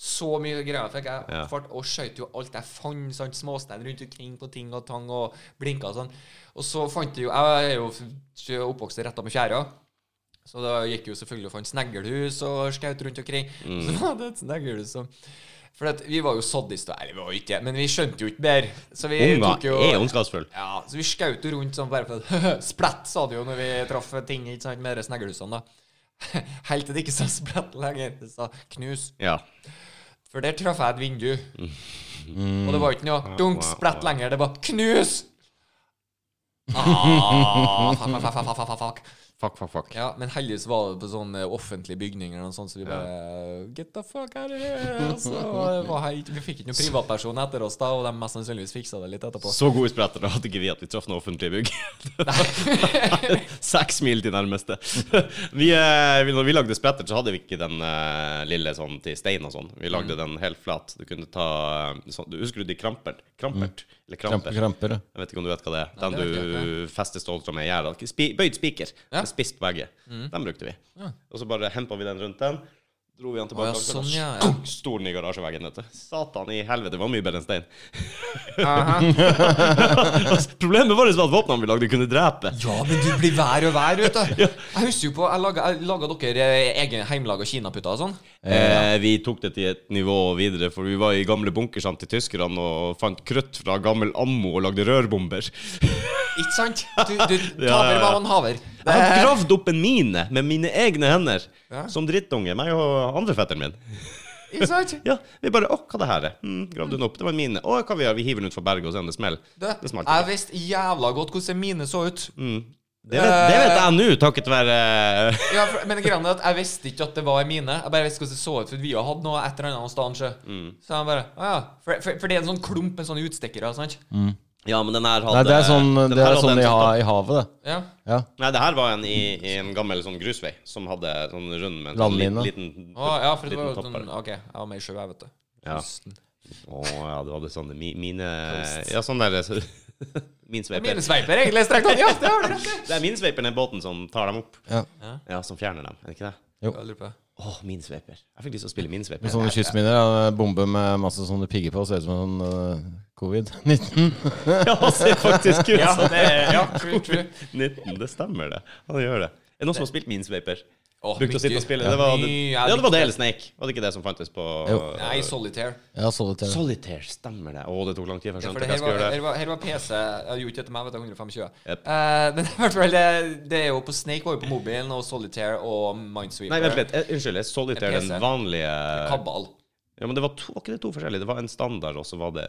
S3: Så mye greier fikk jeg
S1: Ja.
S3: fart, og skjøt jo alt jeg fant. Sant? Småstein rundt omkring på ting og tang og blinka og sånn. Og så fant jeg jo Jeg er jo f- oppvokst retta med tjæra. Så da gikk jeg jo selvfølgelig og fant sneglehus og skaut rundt omkring.
S1: Mm.
S3: Så var det et sneglehus som For at vi var jo sadister. Eller vi var jo ikke det, men vi skjønte jo ikke bedre. Så vi tok
S1: Unger
S3: jo
S1: er ondskapsfulle.
S3: ja, så vi skjøt jo rundt sånn bare for at Splett, sa det jo når vi traff ting ikke sant, med de sneglehusene, da. Helt til det ikke sa splett lenger. Det sa knus.
S1: Ja.
S3: For der traff jeg et vindu.
S1: Mm.
S3: Og det var ikke noe dunk, splett lenger. Det var knus! Ah, fuck, fuck, fuck, fuck, fuck, fuck.
S1: Fuck, fuck, fuck.
S3: Ja, men heldigvis var det på sånn eh, offentlig bygning eller noe sånt, sånn, så vi bare Get the fuck out of here! Så det var helt, vi fikk ikke noen privatperson etter oss da, og de mest sannsynligvis fiksa det litt etterpå.
S1: Så gode sprettere hadde ikke vi at vi traff noe offentlig bygg. Seks mil til nærmeste. Vi, eh, vi- når vi lagde spretter, så hadde vi ikke den eh, lille sånn til stein og sånn. Vi lagde den helt flat. Du kunne ta eh, sånn, du Husker du de krampert? Krampert? Eller kramper?
S2: Kramper, kramper. ja.
S1: Jeg vet ikke om du vet hva det er.
S3: Nei,
S1: Den
S3: det vet jeg
S1: du fester stolter med i gjerdet. Ikke spi- Bøyd spiker.
S3: Ja. Mm.
S1: med Spiss på begge. Den brukte vi. Og så bare hempa vi den rundt den. Dro vi den
S3: Å,
S1: tilbake.
S3: ja,
S1: og så
S3: sånn, ja, ja.
S1: stunk, Sto den i garasjeveggen, vet du. Satan i helvete, det var mye bedre enn stein. Altså, Problemet vårt var at våpnene vi lagde, kunne drepe.
S3: Ja, men du blir vær og vær, vet du. Jeg husker jo på Jeg laga, jeg laga dere eh, egen heimelaga kinaputter og sånn.
S1: Eh, vi tok det til et nivå videre, for vi var i gamle bunkersene til tyskerne og fant krutt fra gammel ammo og lagde rørbomber.
S3: Ikke sant? Du, du taper
S1: Ja, ja, ja.
S3: hva man haver. Eh,
S1: Jeg har gravd opp en mine med mine egne hender,
S3: Ja.
S1: som drittunge, meg og andre fetteren min.
S3: Ikke sant?
S1: Ja, vi bare Å, hva det her er? Mm, gravde den opp. Det var en mine. Å, hva vi gjør? Vi hiver den ut fra berget og ser om det smeller.
S3: Du,
S1: Det smalt Mm.
S3: jeg visste jævla godt hvordan mine så ut.
S1: Det vet, det vet jeg nå, takket være eh,
S3: Ja, for, men greia er at jeg visste ikke at det var mine. Jeg bare visste hvordan det så ut, for vi har hatt noe et eller annet sted. sjø.
S1: Mm.
S3: Så jeg bare Å ja. For, for, for det er en sånn klump med sånne utstikkere, sant?
S1: Mm. Ja, men den her hadde
S2: Nei, det er sånn,
S1: den
S2: det
S1: her
S2: er
S1: hadde
S2: sånn
S1: en
S2: i, ha,
S1: sånn-
S2: i havet, det.
S3: Ja.
S2: Ja.
S1: Nei, det her var en i, i en gammel sånn grusvei, som hadde sånn rund med en sånn
S2: Landmine.
S1: liten, liten
S3: Å, ja, for det var
S1: Liten
S3: jo sånn
S1: topper.
S3: OK, jeg var med i sjø, jeg, vet du.
S1: Ja.
S3: Pusten.
S1: Å ja, du hadde sånne mi, mine Ja, sånn der så- Min sveiper.
S3: Mine sveiper, egentlig. Strekt hånd. Ja, det har du rett i.
S1: Det er min sveiper, den båten som tar dem opp.
S2: Ja.
S1: Ja, som fjerner dem, er det ikke det?
S3: Jeg lurer på.
S1: Å, min sveiper. Jeg fikk lyst til å spille min sveiper.
S2: Med sånne kystminer. ja, Bombe med masse sånne pigger på. Ser ut som en sånn covid-19.
S1: Ja, det ser faktisk ut
S3: Ja,
S1: som
S3: det er ja, true, true.
S1: 19, det stemmer det. Han gjør det. Er det noen som har spilt min sveiper?
S3: Åh,
S1: Brukte å sitte
S3: mye.
S1: og spille. Det var, det,
S3: Mye,
S1: ja, det var det eller Snake. Var det ikke det som fantes på
S2: Jo.
S3: Nei, solitaire.
S2: Ja, så det til.
S1: Solitaire, stemmer det. Å, det tok lang tid før jeg
S3: Ja, for
S1: skjønte hva
S3: det her
S1: jeg
S3: var,
S1: skulle
S3: her,
S1: gjøre.
S3: var, her var PC. Jeg gjorde ikke etter meg, vet du. 125.
S1: Yep.
S3: Eh, men i hvert fall, det, det er jo på Snake var jo på mobilen, og Solitaire og Minesweeper.
S1: Nei, vent litt. Eh, Unnskyld. er Solitaire,
S3: PC.
S1: den vanlige Ja,
S3: Kabal.
S1: men det var, to, var ikke det to forskjellige. Det var en standard, og så var det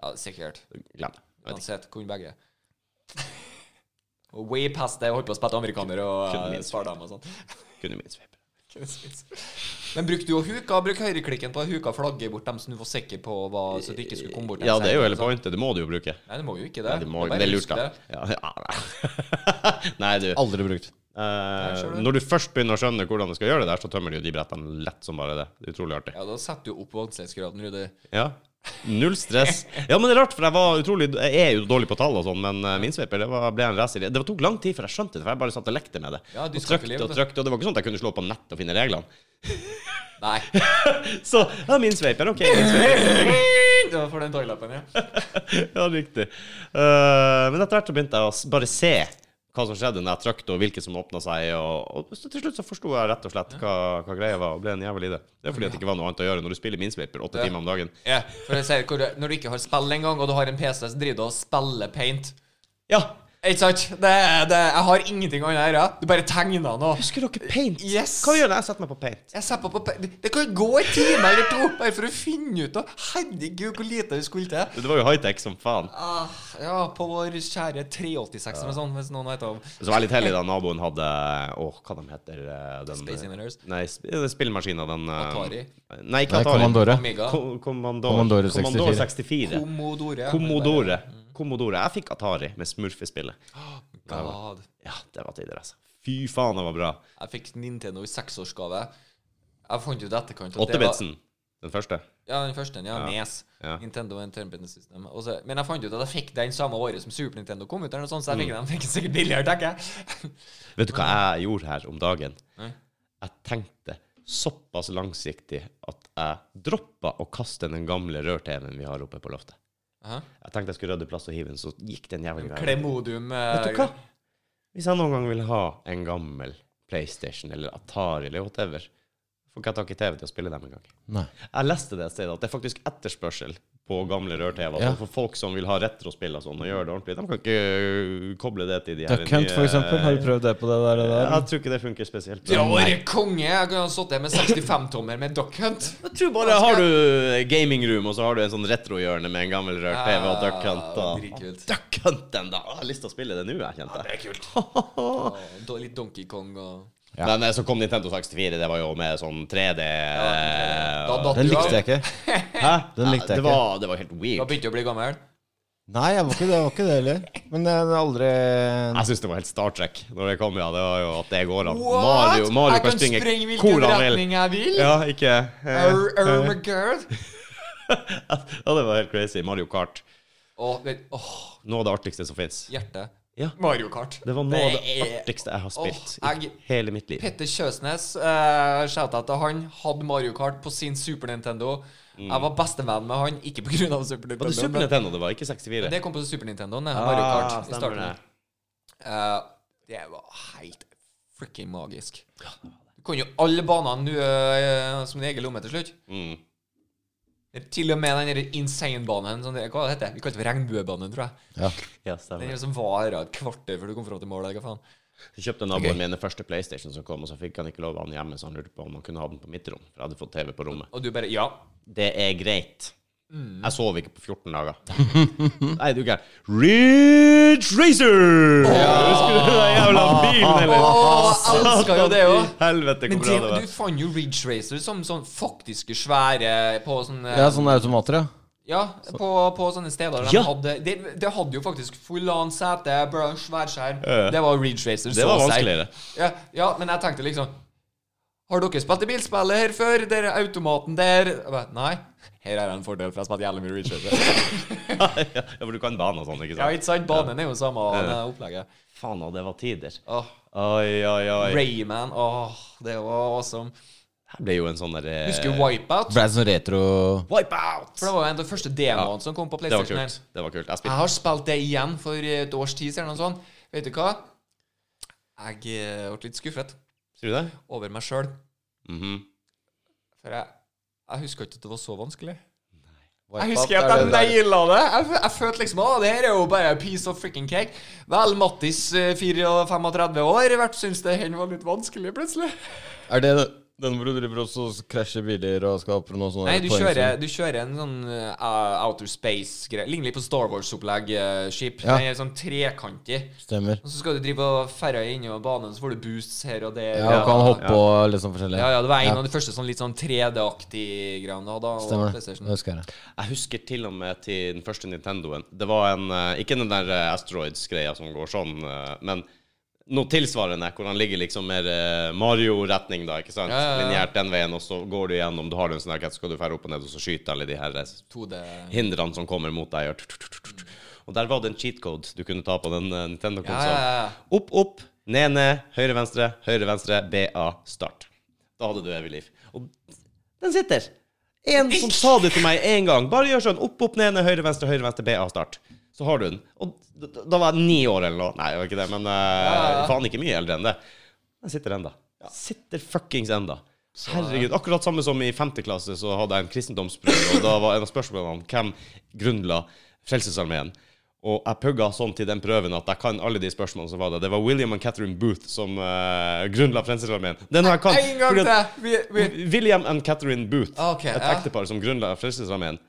S3: Ja, sikkert.
S1: Glem det. Jeg vet ikke.
S3: Uansett, kunne begge. Og Way past det, holdt på å spille amerikaner og
S1: Kunne
S3: uh,
S1: min
S3: spardam og sånn.
S1: Kunne min sveiper.
S3: Men brukte du jo huka? Bruk høyreklikken på huka, flagge bort dem som du var sikker på var, så du ikke skulle komme bort.
S1: Ja,
S3: en
S1: det er jo
S3: seng,
S1: hele
S3: ikke sant?
S1: pointet. Det må du jo bruke.
S3: Nei, det må jo ikke det.
S1: Ja, det, må,
S3: bare
S1: det er lurt,
S3: husk
S1: da.
S3: det.
S1: Ja, ja, nei. nei, du.
S2: Aldri brukt.
S1: Eh,
S3: skjønner du.
S1: når du først begynner å skjønne hvordan du skal gjøre det der, så tømmer du jo de brettene lett som bare det. Det er utrolig artig.
S3: Ja, da setter du opp vanskelighetsgraden, Rudi.
S1: Ja. Null stress. Ja, men det er rart, for jeg var utrolig Jeg er jo dårlig på tall og sånn, men eh, min sveiper det var, ble en racer. Det tok lang tid før jeg skjønte det, for jeg bare satt og lekte med det.
S3: Ja, du
S1: og
S3: skal ikke
S1: trykte
S3: leve
S1: og
S3: det.
S1: trykte, og det var ikke sånn at jeg kunne slå på nett og finne reglene.
S3: Nei.
S1: Så ja, min sveiper, OK. Min sveiper.
S3: Det var for den toilappen, ja.
S1: Ja, riktig. Eh, men etter hvert så begynte jeg å s- bare se hva som skjedde når jeg trykte, og hvilke som åpna seg, og, og så til slutt så forsto jeg rett og slett hva, hva greia var, og ble en jævel i det. Det er fordi at det ikke var noe annet å gjøre når du spiller min sveiper åtte
S3: Ja.
S1: timer om dagen.
S3: ja. For jeg sier, hvor du- når du ikke har spill engang, og du har en PC, så driver du og spiller paint.
S1: Ja,
S3: Ikke sant? Det, er- det, jeg har ingenting annet å gjøre. Du bare tegner noe.
S1: husker dere paint?
S3: Yes.
S1: Hva gjør jeg når jeg setter meg på paint?
S3: Jeg setter på pa- Det det kan gå en time eller to bare for å finne ut av Herregud, hvor lite det skulle til.
S1: Det var jo high-tech som faen.
S3: Ah, ja, på vår kjære 386 eller sånn, hvis noen vet om.
S1: Så var jeg litt heldig da naboen hadde Å, hva de heter eh, den
S3: Space Invaders.
S1: Nei, sp eh, spillmaskina, den eh,
S3: Atari.
S1: Nei, ikke
S2: Nei,
S1: Atari.
S2: Commodore.
S3: Amiga.
S1: Ko- Commodore.
S2: Commodore
S1: 64. 64.
S3: Commodore.
S1: Commodore. Commodore. Jeg fikk Atari med smurfespillet.
S3: God.
S1: Ja, det var tider, altså. Fy faen, det var bra.
S3: Jeg fikk Nintendo i seksårsgave. Jeg fant ut i etterkant at det var-
S1: 8-bitsen. Den første.
S3: Ja, den første. Ja, Nes.
S1: Ja.
S3: Nintendo Entertainment System. Og så- men jeg fant ut at jeg fikk den samme året som Super Nintendo kom ut, eller noe sånt, så jeg fikk
S1: Mm.
S3: den fikk den sikkert billigere, tenker jeg.
S1: Vet du hva jeg gjorde her om dagen?
S3: Nei.
S1: Jeg tenkte såpass langsiktig at jeg droppa å kaste den gamle rør-TV-en vi har oppe på loftet.
S3: Aha.
S1: Jeg tenkte jeg skulle rydde plass og hive den, så gikk den jævlig greia.
S3: Klemodium eh,
S1: Vet du hva? Hvis jeg noen gang vil ha en gammel PlayStation eller Atari eller whatever, får ikke jeg tak i TV til å spille dem engang.
S2: Nei.
S1: Jeg leste det et sted at det er faktisk etterspørsel på gamle rør-TV.
S2: Ja.
S1: altså For folk som vil ha retrospill og sånn og gjøre det ordentlig. De kan ikke ø, koble det til de
S2: Duck Hunt, for eksempel. Har du prøvd det på det der? Det der?
S1: Jeg tror ikke det funker spesielt.
S3: Det var det konge! Jeg kunne ha sittet med 65-tommer med Duck Hunt.
S1: Jeg tror bare har du gamingroom, og så har du en sånn retrohjørne med en gammel rør-TV og Duck Hunt.
S3: Ja,
S1: og-
S3: Ah, dritkult.
S1: Duck Hunt, den, da! Ah, Jeg har lyst til å spille det nå, jeg kjente. det er kult.
S3: Og da litt Donkey Kong og
S2: Ja.
S1: Men eh, så kom Nintendo 64, det var jo med sånn 3D eh,
S3: Da datt
S2: Den
S3: du av.
S2: likte jeg ikke.
S1: Hæ?
S2: Den likte jeg
S1: det var, det var helt
S3: Da
S1: weird.
S3: begynte du å bli gammel.
S2: Nei, jeg var ikke det, jeg var ikke det heller. Men jeg har aldri
S1: Jeg syns det var helt Star Trek når det kom, ja. Det var jo at det går an.
S3: What?
S1: Mario, Mario
S3: jeg
S1: kan
S3: kan
S1: springe
S3: springe hvilken
S1: hvor han vil.
S3: retning jeg vil!
S1: Ja, ikke eh,
S3: Arr, arr, my girl.
S1: Ja, det var helt crazy. Mario Kart.
S3: Åh, det- åh,
S1: Noe av det artigste som fins.
S3: hjerte.
S1: Ja.
S3: Mario Kart.
S1: Det var noe av det
S3: Det er-
S1: artigste jeg har spilt
S3: Åh,
S1: i
S3: jeg-
S1: hele mitt liv.
S3: Petter Kjøsnes, uh, shout-out til han, hadde Mario Kart på sin Super Nintendo. Jeg var bestevenn med han, ikke pga. Super
S1: Mm.
S3: Nintendo.
S1: Var det Super
S3: men-
S1: Nintendo det var, ikke 64?
S3: Det kom på Super Nintendo, det, Mario
S1: Ah,
S3: Kart. i
S1: stemmer
S3: starten.
S1: det.
S3: Eh, det var helt freaking magisk. Du kunne jo alle banene du, eh, som din egen lomme til slutt.
S1: Mm.
S3: Til og med den der insane-banen. Som det, hva heter det? Vi kalte det regnbuebanen, tror jeg.
S2: Ja.
S1: Ja,
S3: Den
S1: stemmer.
S3: er som varer et kvarter før du kom fram til målet. eller Hva faen?
S1: Jeg kjøpte naboen min den første PlayStation som kom, og så fikk han ikke lov av han hjemme, så han lurte på om han kunne ha den på mitt rom, for jeg hadde fått TV på rommet.
S3: Og du bare Ja.
S1: Det er greit. Jeg sov ikke på 14 dager. Nei, du er gæren. Ridge Racer! Husker du den jævla bilen, eller?
S3: Åh, jeg elsker jo det
S1: Satan
S3: òg.
S1: i Helvete,
S3: Men
S1: hvor bra det
S3: det,
S1: var.
S3: du fant jo Ridge Racer som sånn faktiske svære på sånne
S2: Det er sånne automater, ja.
S3: Ja, på, på sånne steder der
S1: Ja.
S3: de hadde det, det hadde jo faktisk full-on sete, bra, svær skjerm.
S1: Ja.
S3: Det var Ridge Racer.
S1: Det
S3: så
S1: var
S3: å si.
S1: vanskeligere.
S3: Ja, ja, men jeg tenkte liksom Har dere spilt i bilspillet her før? Der er automaten der Jeg bare, Nei. Her er det en fordel, for jeg spilte jævlig mye Ridge Racer.
S1: ja, for du kan bane og sånn, ikke
S3: ja,
S1: sant?
S3: ikke sant? Banen er jo samme og det opplegget.
S1: Faen, og det var tider.
S3: Åh,
S1: Oi, oi, oi.
S3: Rayman, åh, det var awesome.
S1: Det her ble jo en sånn derre
S3: Husker du Wipeout?
S2: Ble det sånn retro
S1: Wipeout!
S3: For det var jo en av de første demoene som kom på
S1: Det var
S3: PlayStation. her.
S1: kult. Det var kult. Jeg
S3: Jeg
S1: spilte
S3: har spilt det igjen for et års tid siden. eller noe sånt. Vet du hva? Jeg eh, ble litt skuffet
S1: Sier du det?
S3: over meg sjøl.
S1: Mhm.
S3: For jeg, jeg husker ikke at det var så vanskelig.
S2: Wipeout,
S3: jeg husker
S2: er
S3: at jeg
S2: det der-
S3: naila det. Jeg, fø- jeg følte liksom at det her er jo bare a piece of freaking cake. Vel, Mattis, eh, 34 år, hvert syns det her var litt vanskelig, plutselig.
S2: Er det den hvor du driver og så krasjer biler og skaper noe sånn sånt?
S3: Nei, du kjører, du kjører en sånn eh, outer space-greie. Ligner litt på Star Wars-opplegg-skip.
S2: Ja.
S3: Den er sånn trekantig.
S2: Stemmer.
S3: Og så skal du drive og ferre innom banen, så får du boosts her og der.
S2: Ja, og kan hoppe og litt sånn forskjellig.
S3: Ja, ja, det var en
S2: Ja.
S3: av de første sånn litt sånn 3D-aktige greiene da, da. og
S2: Stemmer det.
S3: PlayStation.
S2: Det husker jeg.
S1: Jeg husker til og med til den første Nintendoen. Det var en eh, Ikke den der eh, Asteroids-greia som går sånn, eh, men noe tilsvarende, hvor han ligger liksom mer eh, Mario-retning, da, ikke sant?
S3: Ja, ja, ja.
S1: Lineært den veien, og så går du gjennom, du har en sånn her, så skal du fære opp og ned, og så skyte alle de her eh,
S3: 2D
S1: hindrene som kommer mot deg. og tut, tut, tut, tut. Og der var det en cheat code du kunne ta på den eh,
S3: Ja,
S1: Nintendo-konsollen.
S3: ja, ja.
S1: Opp, opp, ned, ned, høyre, venstre, høyre, venstre, BA, start. Da hadde du evig liv. Og den sitter. En som sa det til meg en gang. Bare gjør sånn. Opp, opp, ned, ned, høyre, venstre, høyre, venstre, BA, start. Så har du den. Og d- d- da var jeg ni år eller noe. Nei, jeg var ikke det, men eh, faen ikke mye eldre enn det. Den sitter enda. Sitter fuckings enda.
S3: eh,
S1: Herregud. Akkurat samme som i femte klasse så hadde jeg en kristendomsprøve, og da var en av spørsmålene hvem grunnla Frelsesarmeen. Og jeg pugga sånn til den prøven at jeg kan alle de spørsmålene som var der. Det var William og Catherine Booth som eh, grunnla Frelsesarmeen. Den har jeg kan.
S3: En gang
S1: fordi at-
S3: til! Vi, vi.
S1: William and Catherine Booth.
S3: Ah, Ok,
S1: et
S3: ja.
S1: ektepar som grunnla Frelsesarmeen.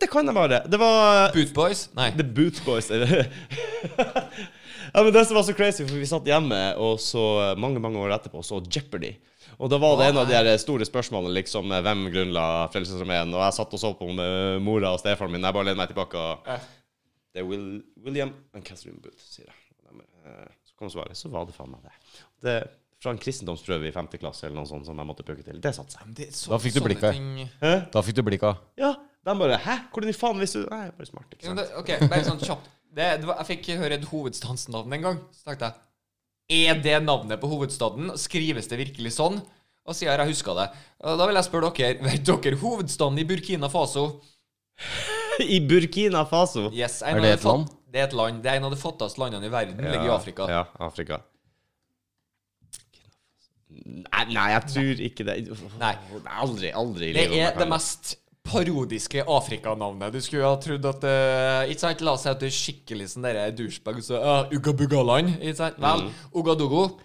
S1: Det kan jeg bare. Det var
S3: Boot Boys? Nei.
S1: The Booth Boys. eller? ja, men det som var så crazy, for vi satt hjemme, og så mange mange år etterpå så Jeopardy. Og da var det en av de her store spørsmålene, liksom hvem grunnla Frelsesarmeen? Og jeg satt og så på med mora og stefaren min, jeg bare lener meg tilbake og Det er Will, William and Catherine Booth, sier jeg. Og de, eh, Så kom svaret. Så var det faen meg det. Det er fra en kristendomsprøve i femte klasse eller noe sånt som jeg måtte pukke til. Det satte seg.
S3: Men det er så-
S2: Da fikk du
S3: sånne
S2: blikk der.
S3: ting-
S2: Da fikk du blikka.
S1: Ja, de bare Hæ? Hvordan i faen visste du Nei, jeg er bare smart, ikke
S3: Ja, men
S1: sant.
S3: det, ok, bare sånn kjapt. Det, det var, jeg fikk høre et hovedstadsnavn en gang. Så tenkte jeg Er det navnet på hovedstaden? Skrives det virkelig sånn? Og siden jeg huska det. Og Da vil jeg spørre dere Vet dere hovedstaden i Burkina Faso?
S1: I Burkina Faso.
S3: Yes,
S2: Er
S3: en av
S2: det
S3: de
S2: et
S3: fat-
S2: land?
S3: Det er et land. Det er en av de fattigste landene i verden. Ligger i Afrika.
S1: Ja, Afrika. Nei, nei, jeg tror ikke det.
S3: Nei.
S1: Aldri, aldri i
S3: Det
S1: livet om jeg
S3: er
S1: kan
S3: det mest parodiske Afrikanavnet. Du skulle ha trodd at eh, Ikke sant? La oss si at du er skikkelig sånn derre douchebag og så uh, Ugabugaland. Ikke sant? Vel,
S2: Mm.
S3: Ugadugo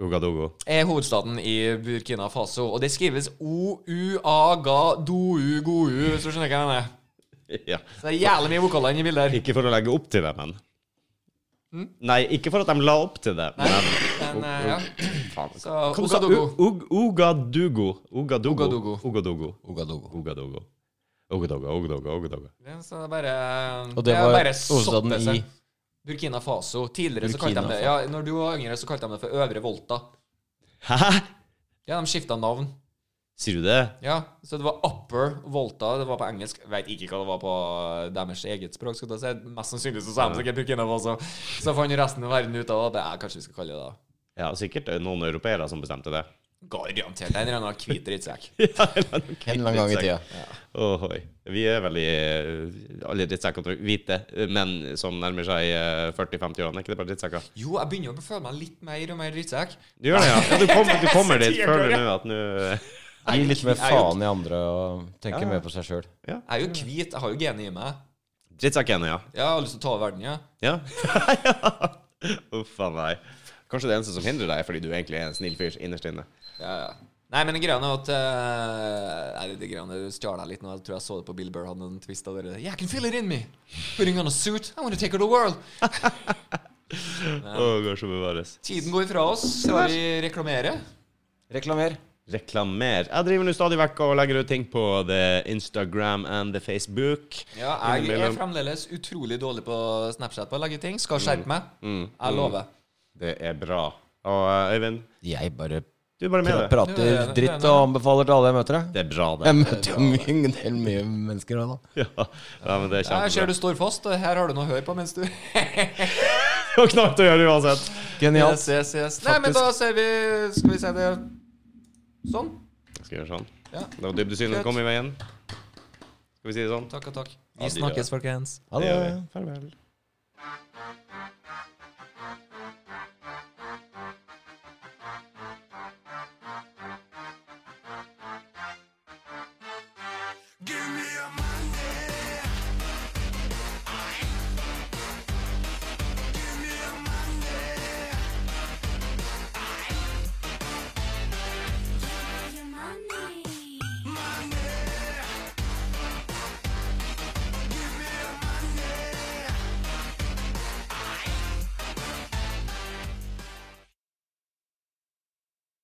S1: Ouagadougou.
S3: er hovedstaden i Burkina Faso, og det skrives O-U-A-Ga-Do-U-Go-U, hvis du skjønner hva jeg mener.
S1: Ja.
S3: Så det er jævlig mye vokaler inni bildet her.
S1: Ikke for å legge opp til det, men
S3: Hmm?
S1: Nei, ikke for at de la opp til det, men
S3: Men, eh, ja.
S1: Faen.
S2: altså.
S3: Så
S1: Hva sa du?
S3: Ouagadougou.
S1: Ug- Ouagadougou. Ouagadougou.
S3: Ouagadougou.
S1: Ouagadougou.
S2: Ogadogo.
S1: Ouagadougou. Ouagadougou, Ouagadougou, Ouagadougou.
S3: Så det er bare
S2: Og det
S3: er
S2: var
S3: bare
S2: hovedstaden
S3: sottelse.
S2: i-
S3: Burkina Faso. Tidligere så kalte de
S2: Burkina
S3: det ja, Når du var yngre, så kalte de det for Øvre Volta.
S1: Hæ?
S3: Ja, de skifta navn.
S1: Sier du det?
S3: Ja, Så det var Upper Volta. Det var på engelsk. Veit ikke hva det var på deres eget språk. skulle jeg si. Mest sannsynlig så sa de sikkert Burkina Faso. Så fant resten av verden ut av det. Ja, kanskje vi skal kalle det det.
S1: Ja, sikkert det er noen europeere som bestemte det.
S3: Garantert. En eller annen hvit drittsekk.
S2: En eller annen gang i tida.
S1: sånn- Ohoi. Vi er veldig eh, alle drittsekker hvite menn som nærmer seg eh, 40-50 årene. Er ikke det bare drittsekker?
S3: Jo, jeg begynner å føle meg litt mer og mer drittsekk.
S1: Du gjør det, ja. ja du, kom, du kommer dit.
S3: Sier
S1: Føler
S3: du
S1: nå at nå eh,
S2: Gi litt mer
S3: Jeg er jo-
S2: faen i andre og tenke
S1: Ja.
S2: mer på seg sjøl.
S3: Jeg er jo hvit. Jeg har jo genet i meg.
S1: Drittsekken, ja.
S3: Jeg har lyst til å ta over verden, ja.
S1: Ja. Uff a meg. Kanskje det eneste som hindrer deg, er fordi du egentlig er en snill fyr innerst inne.
S3: ja, ja. Nei, men greia er at eh, Nei, det greia er- stjal jeg litt nå. Jeg tror jeg så det på Bill Burr. Hadde en twist av det. Yeah, I can feel it in me. Putting on a suit. I want to take over the world.
S1: Å, Gud, så bevares.
S3: Tiden går fra oss. Skal vi reklamere?
S2: Reklamer.
S1: Reklamer. Jeg driver nå stadig vekk og legger ut ting på the Instagram and the Facebook.
S3: Ja, jeg er
S1: Innimellom.
S3: fremdeles utrolig dårlig på Snapchat på å legge ting. Skal skjerpe meg. Jeg lover.
S1: Det er bra. Og eh, Øyvind,
S2: Jeg bare
S1: du er bare med
S2: pra
S1: det.
S3: Du er
S2: prater
S3: enig,
S2: dritt
S3: du er
S2: og anbefaler til alle jeg møter. jeg.
S1: Det er bra, det.
S2: Jeg møter jo mye, en del mye mennesker òg, da.
S1: Ja, ja men det er
S3: Jeg ser
S1: kjempebra.
S3: du står fast. og Her har du noe å høre på mens du
S1: Det var knapt å gjøre det uansett.
S2: Genialt.
S3: Yes, yes, yes. Nei, men da ser vi Skal vi se det sånn?
S1: Jeg skal gjøre sånn.
S3: Ja.
S1: Det var dybdesynet som kom i veien. Skal vi si det sånn?
S3: Takk og takk.
S1: Ja,
S3: Vi
S1: de gjør det.
S3: snakkes, folkens.
S2: Ha
S1: Det
S2: det.
S1: gjør vi. Farvel.